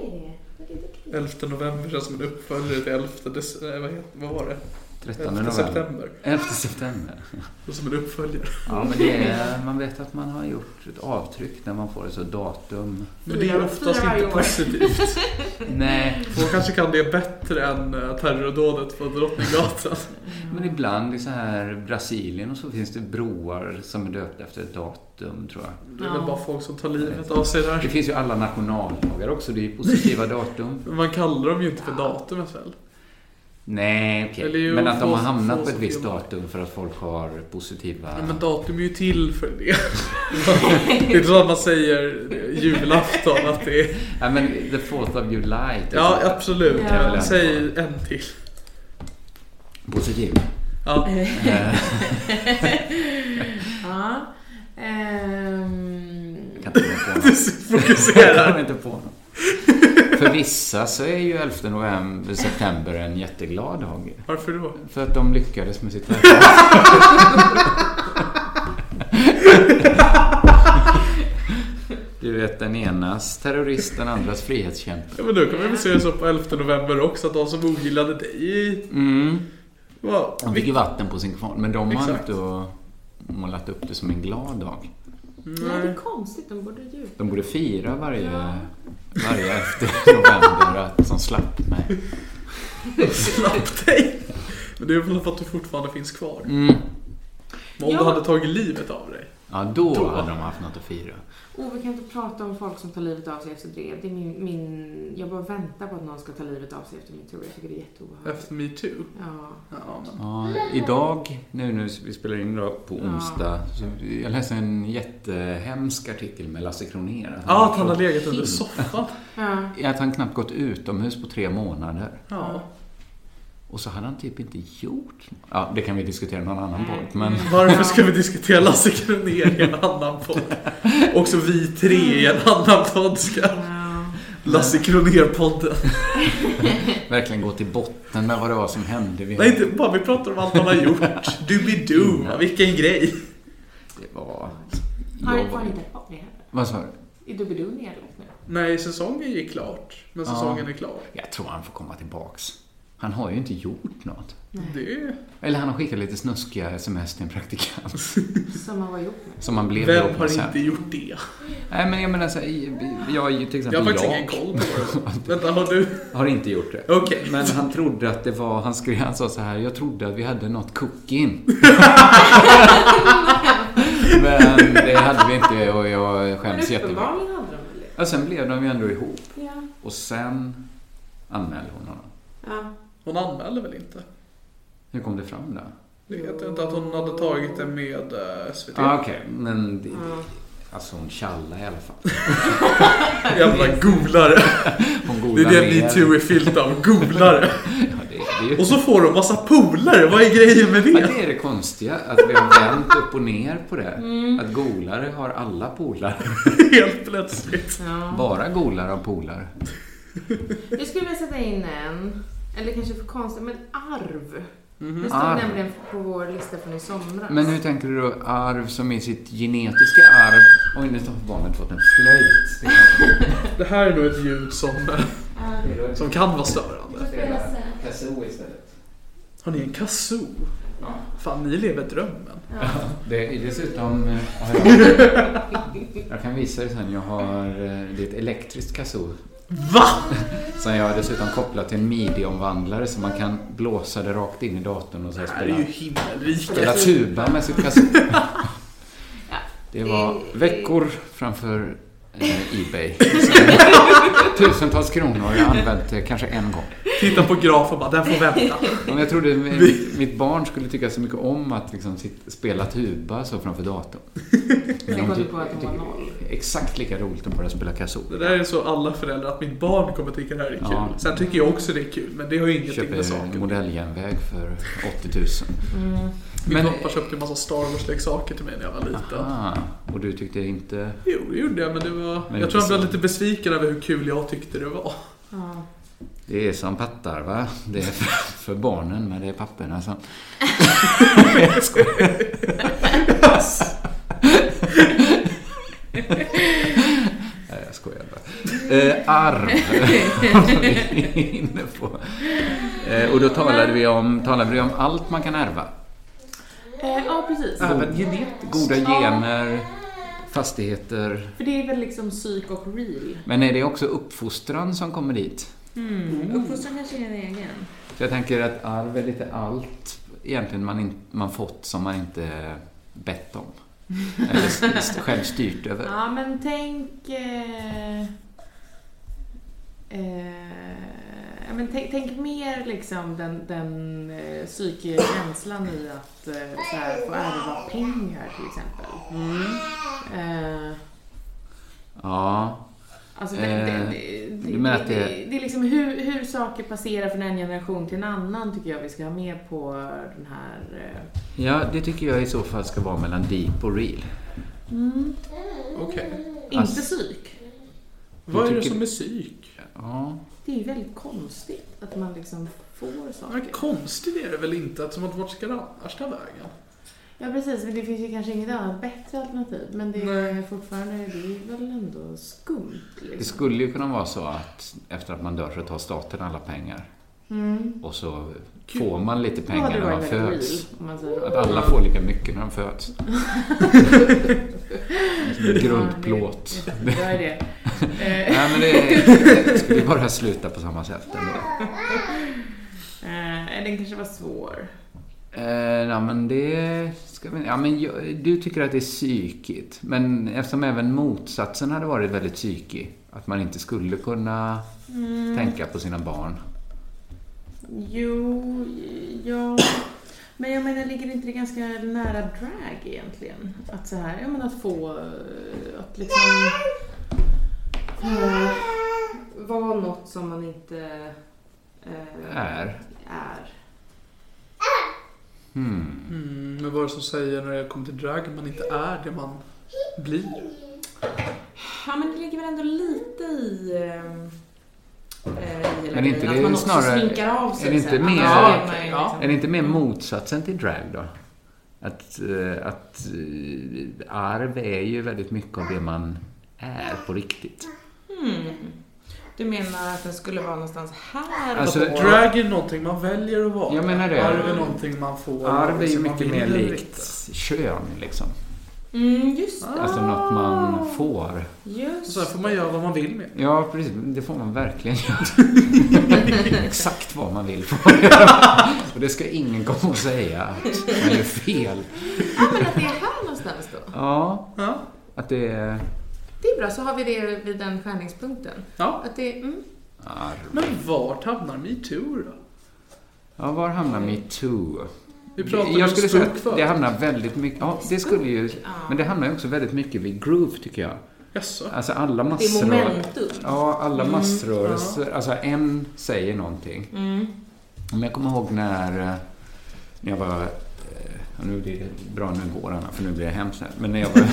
C: det. Vad är det?
A: 11 november känns som en uppföljare till 11 dec- eh, vad, heter, vad var det?
B: 13
A: 11
B: november.
A: september.
B: 11 september.
A: Och som en uppföljare.
B: Ja, men det är, man vet att man har gjort ett avtryck när man får ett så datum.
A: Men det är
C: Fyra-
A: oftast
C: fyra
A: inte
C: år.
A: positivt.
B: Nej,
A: Man kanske kan det bättre än eh, terrordådet på Drottninggatan.
B: men ibland i så här Brasilien och så finns det broar som är döpta efter ett datum, tror jag.
A: Det är väl bara folk som tar livet av sig
B: Det
A: där.
B: finns ju alla nationaldagar också. Det är ju positiva datum.
A: Men man kallar dem ju inte för datumet väl?
B: Nej,
A: Eller
B: okej.
A: ju
B: Men att de har
A: få- få
B: hamnat på ett
A: så
B: visst
A: fel.
B: datum för att folk har positiva...
A: Men datum är ju till för det. det är inte så att man säger julafton att det är...
B: Ja, men the 4th of July. typ. till
A: Ja,
B: exempel.
A: absolut.
C: Ja.
A: Men Säg en till.
B: Positiv.
A: Ja.
C: ehm. Ja. Ehm,
B: Jag kan inte komma på
A: Du
B: något. Jag
A: fokuserar.
B: kommer inte på något. För vissa så är ju 11 november, september en jätteglad dag.
A: Varför då?
B: För att de lyckades med sitt verk. Du vet den enas terrorist, den andras frihetskämpe.
A: Ja, men då kan vi väl se det så på 11 november också, att de som ogillade dig...
B: Mm.
A: Wow.
B: De fick ju vatten på sin kvarn, men de har
A: Exakt.
B: inte målat upp det som en glad dag.
C: nej, det är konstigt. De borde ju...
B: De borde fira varje, varje efter november att, som slapp mig.
A: Slapp dig! Men det är väl för att du fortfarande finns kvar.
B: Mm.
A: Men om
C: Ja.
A: du hade tagit livet av dig.
B: Ja, då,
A: Då.
B: hade de haft något att fira.
C: Oh, vi kan inte prata om folk som tar livet av sig efter drev. Det är min, min... Jag bara väntar på att någon ska ta livet av sig efter min tur. Jag tycker det är jätteobehagligt.
A: Efter metoo.
C: Ja.
A: Ja, men.
B: Ja, idag, nu, nu vi spelar in idag på onsdag, så jag läste en jättehemsk artikel med Lasse Kronér. Att
A: Ja, att han har legat under soffan.
C: ja.
B: Att han knappt gått utomhus på tre månader.
A: Ja.
B: Och så hade han typ inte gjort Ja, det kan vi diskutera i någon annan podd, men...
A: Varför ska vi diskutera Lasse Kronér i en annan podd? Också vi tre i en annan podd ska...
C: ja.
A: Lasse Kronér-podden.
B: Verkligen gå till botten med vad det var som hände. Vi,
A: Nej, inte bara vi pratar om allt han har gjort. Doobidoo, vilken grej.
B: Det var...
C: Har
B: Jag
C: det var
B: var...
C: inte kvar det heller?
B: Vad sa du?
C: Är Doobidoo nedlagt nu?
A: Nej, säsongen gick klart. Men säsongen är klar.
B: Jag tror han får komma tillbaks. Han har ju inte gjort något.
A: Det är...
B: Eller han har skickat lite snuskiga sms till en praktikant.
C: Som man var ihop med?
B: Som han blev
A: Vem
B: ihop med
A: har
B: sen.
A: inte gjort det?
B: Nej, men jag menar så här, i- jag är ju till
A: Jag
B: exempel
A: har
B: jag,
A: faktiskt ingen koll på det. Vänta, har du?
B: har inte gjort det.
A: Okej.
B: Men han trodde att det var, han skrev, han sa så här, jag trodde att vi hade något cooking. men det hade vi inte och jag skäms
C: Men
B: jättemycket.
C: uppenbarligen hade de väl det?
B: Ja, sen blev de ju ändå ihop
C: Ja.
B: och sen anmälde hon honom.
C: ja.
A: Hon anmälde väl inte?
B: Hur kom det fram där?
A: Det vet jag inte att hon hade tagit det med eh, SVT.
B: Ja, ah, okej, men det, Alltså hon tjallar i alla fall.
A: Jävla golare.
B: Hon
A: Det är
B: golar
A: det ni
B: med.
A: two är fyllt av. Golare.
B: Ja, det, det är ju...
A: Och så får de massa polare. Vad är grejen med
B: Men
A: det?
B: det är det konstiga, att vi har vänt upp och ner på det. Att golare har alla polare.
A: Helt plötsligt.
C: Ja.
B: Bara golare har polare.
C: Jag skulle vilja sätta in en, eller kanske för konstigt, men arv. Det stod
B: Arv.
C: nämligen på vår lista från i somras.
B: Men hur tänker du då arv som är sitt genetiska arv? Oj, nu har barnet fått en flöjt.
A: Det här är nog ett ljud som, eh, som kan vara störande.
B: Kazoo istället.
A: Har ni en kazoo? Fan, ni lever drömmen.
B: Det är dessutom... eh, har Jag, jag kan visa dig sen. Jag har... eh, Det är ett elektriskt kazoo.
A: Va?
B: Som jag har dessutom kopplat till en midi-omvandlare så man kan blåsa det rakt in i datorn och så här
A: Det här är
B: spela,
A: ju himmelriket.
B: spela tuba med sitt kazoo.
C: Ja.
B: Det var
C: Det-
B: veckor framför eh, Ebay. Tusentals kronor jag har använt eh, kanske en gång.
A: Titta på graf och bara, den får vänta.
B: Om jag trodde mi- mitt barn skulle tycka så mycket om att liksom sit- spela tuba så framför datorn. Men
C: Sen kom
B: ty-
C: du på att hon var
B: tycker
C: noll.
B: Exakt lika roligt att bara spela kazoo.
A: Det där är så alla föräldrar, att mitt barn kommer tycka det här är kul.
B: Ja.
A: Sen tycker jag också det är kul, men det har ju ingenting med
B: Köper
A: saken
B: en modelljärnväg för 80 000.
A: Min
B: Men-
A: pappa köpte en massa Star Wars-leksaker till mig när jag var liten.
B: Ah, och du tyckte inte...
A: Jo, det gjorde jag, men det var...
B: Men
A: jag tror han blev
B: inte så.
A: lite besviken över hur kul jag tyckte det var.
C: Ja.
B: Det är som pattar va? Det är för, för barnen men det är papperna som... Nej, jag skojar bara. Eh, arv var vi inne på. Eh, och då talade vi, om, talade vi om allt man kan ärva.
C: Eh, ja, precis.
A: Även genetiskt.
B: Goda gener, fastigheter.
C: För det är väl liksom psyk och real.
B: Men är det också uppfostran som kommer dit?
C: Mm. Uppfostran kanske är en egen.
B: Så jag tänker att arv är lite allt egentligen man, in, man fått som man inte bett om. Eller s- s- själv styrt över.
C: Ja, men tänk... Eh, eh, ja, men tänk, tänk mer liksom den, den eh, psykiska känslan i att eh, så här, få ärva pengar till exempel.
B: Mm.
C: Eh,
B: Ja,
C: Alltså, det, det,
B: Eh,
C: det,
B: du
C: det,
B: menar
C: det,
B: att det-
C: det, är liksom hur, hur saker passerar från en generation till en annan tycker jag vi ska ha med på den här... eh,
B: ja det tycker jag i så fall ska vara mellan deep och real.
A: Okej.
C: Inte psyk.
A: Vad är det
B: tycker-
A: som är psyk?
B: Ja,
C: Det är ju väldigt konstigt att man liksom får saker.
A: Men konstigt är det väl inte, att som att vart ska det annars ta vägen?
C: Ja precis, men det finns ju kanske inget annat bättre alternativ. Men det är
A: Nej.
C: fortfarande, det är väl ändå skumt
B: det
C: liksom.
B: skulle ju kunna vara så att efter att man dör så tar staten alla pengar. Och så får man lite
C: Då hade
B: pengar
C: Mm. det
B: när man
C: varit väldigt
B: föds.
C: real, om man säger.
B: Att alla får lika mycket när de föds. Som en grundplåt.
C: Ja, det- det är det. Eh,
B: Nej men det, det skulle ju bara sluta på samma sätt ändå.
C: eh, den kanske var svår.
B: Eh, ja, men det ska vi, ja, men jag, du tycker att det är psykigt. Men eftersom även motsatsen hade varit väldigt psykig. Att man inte skulle kunna
C: Mm.
B: tänka på sina barn.
C: Jo, ja. Men jag menar, ligger inte det ganska nära drag egentligen? Att så här, ja men att få, eh, att liksom... eh, vara något som man inte eh,
B: Är.
C: är.
B: Hmm.
A: Mm, men vad är det som säger när det kommer till drag man inte är det man blir?
C: Ja men det ligger väl ändå lite i... ehm, eh, i hela
B: Men inte
C: grejen,
B: det
C: att man
B: är
C: också
B: snarare-
C: sminkar av sig
B: är det inte
C: sen. Annars
B: mer-
C: är man ju
A: okej,
C: liksom-
B: Är det inte mer motsatsen till drag då? Att, eh, att eh, arv är ju väldigt mycket av det man är på riktigt.
C: Mm. Du menar att den skulle vara någonstans här?
B: Alltså,
C: då?
A: Drag är någonting man väljer att vara.
B: Jag menar det.
A: Arv är någonting man får.
B: Arv är ju
A: som man
B: mycket
A: vill
B: mer
A: eller
B: likt kön liksom.
C: Mm, just det.
B: Alltså något man får.
A: inte.
C: Just
A: Så här får man göra vad man vill med.
B: Ja, precis. Det får man verkligen göra. Exakt vad man vill få Och det ska ingen komma och säga att man gör fel.
C: Ja, men att det är här någonstans då.
B: Ja,
A: Ja.
B: att det är
C: Det är bra, så har vi det vid den skärningspunkten.
A: ja.
C: Att det, mm,
B: arv.
A: Men vart hamnar metoo då?
B: Ja, var hamnar metoo?
A: Vi pratade om
B: jag skulle säga
A: stroke
B: att det
A: förut.
B: hamnar väldigt mycket... Ja, det skulle ju... Men det hamnar ju också väldigt mycket vid groove, tycker jag.
A: Jaså?
B: Alltså alla
D: Det är
B: massrör...
D: momentum.
B: Ja, alla massrörelser. Alltså en säger någonting. Men jag kommer ihåg när, eh, när jag var... eh, ja, Nu blir det bra nu går Anna, för nu blir det hemskt här. Men när jag var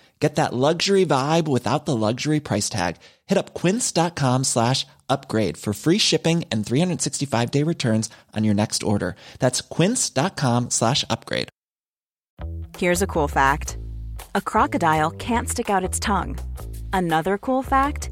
E: Get that luxury vibe without the luxury price tag. Hit up quince.com slash upgrade for free shipping and 365 day returns on your next order. That's quince.com slash upgrade.
F: Here's a cool fact a crocodile can't stick out its tongue. Another cool fact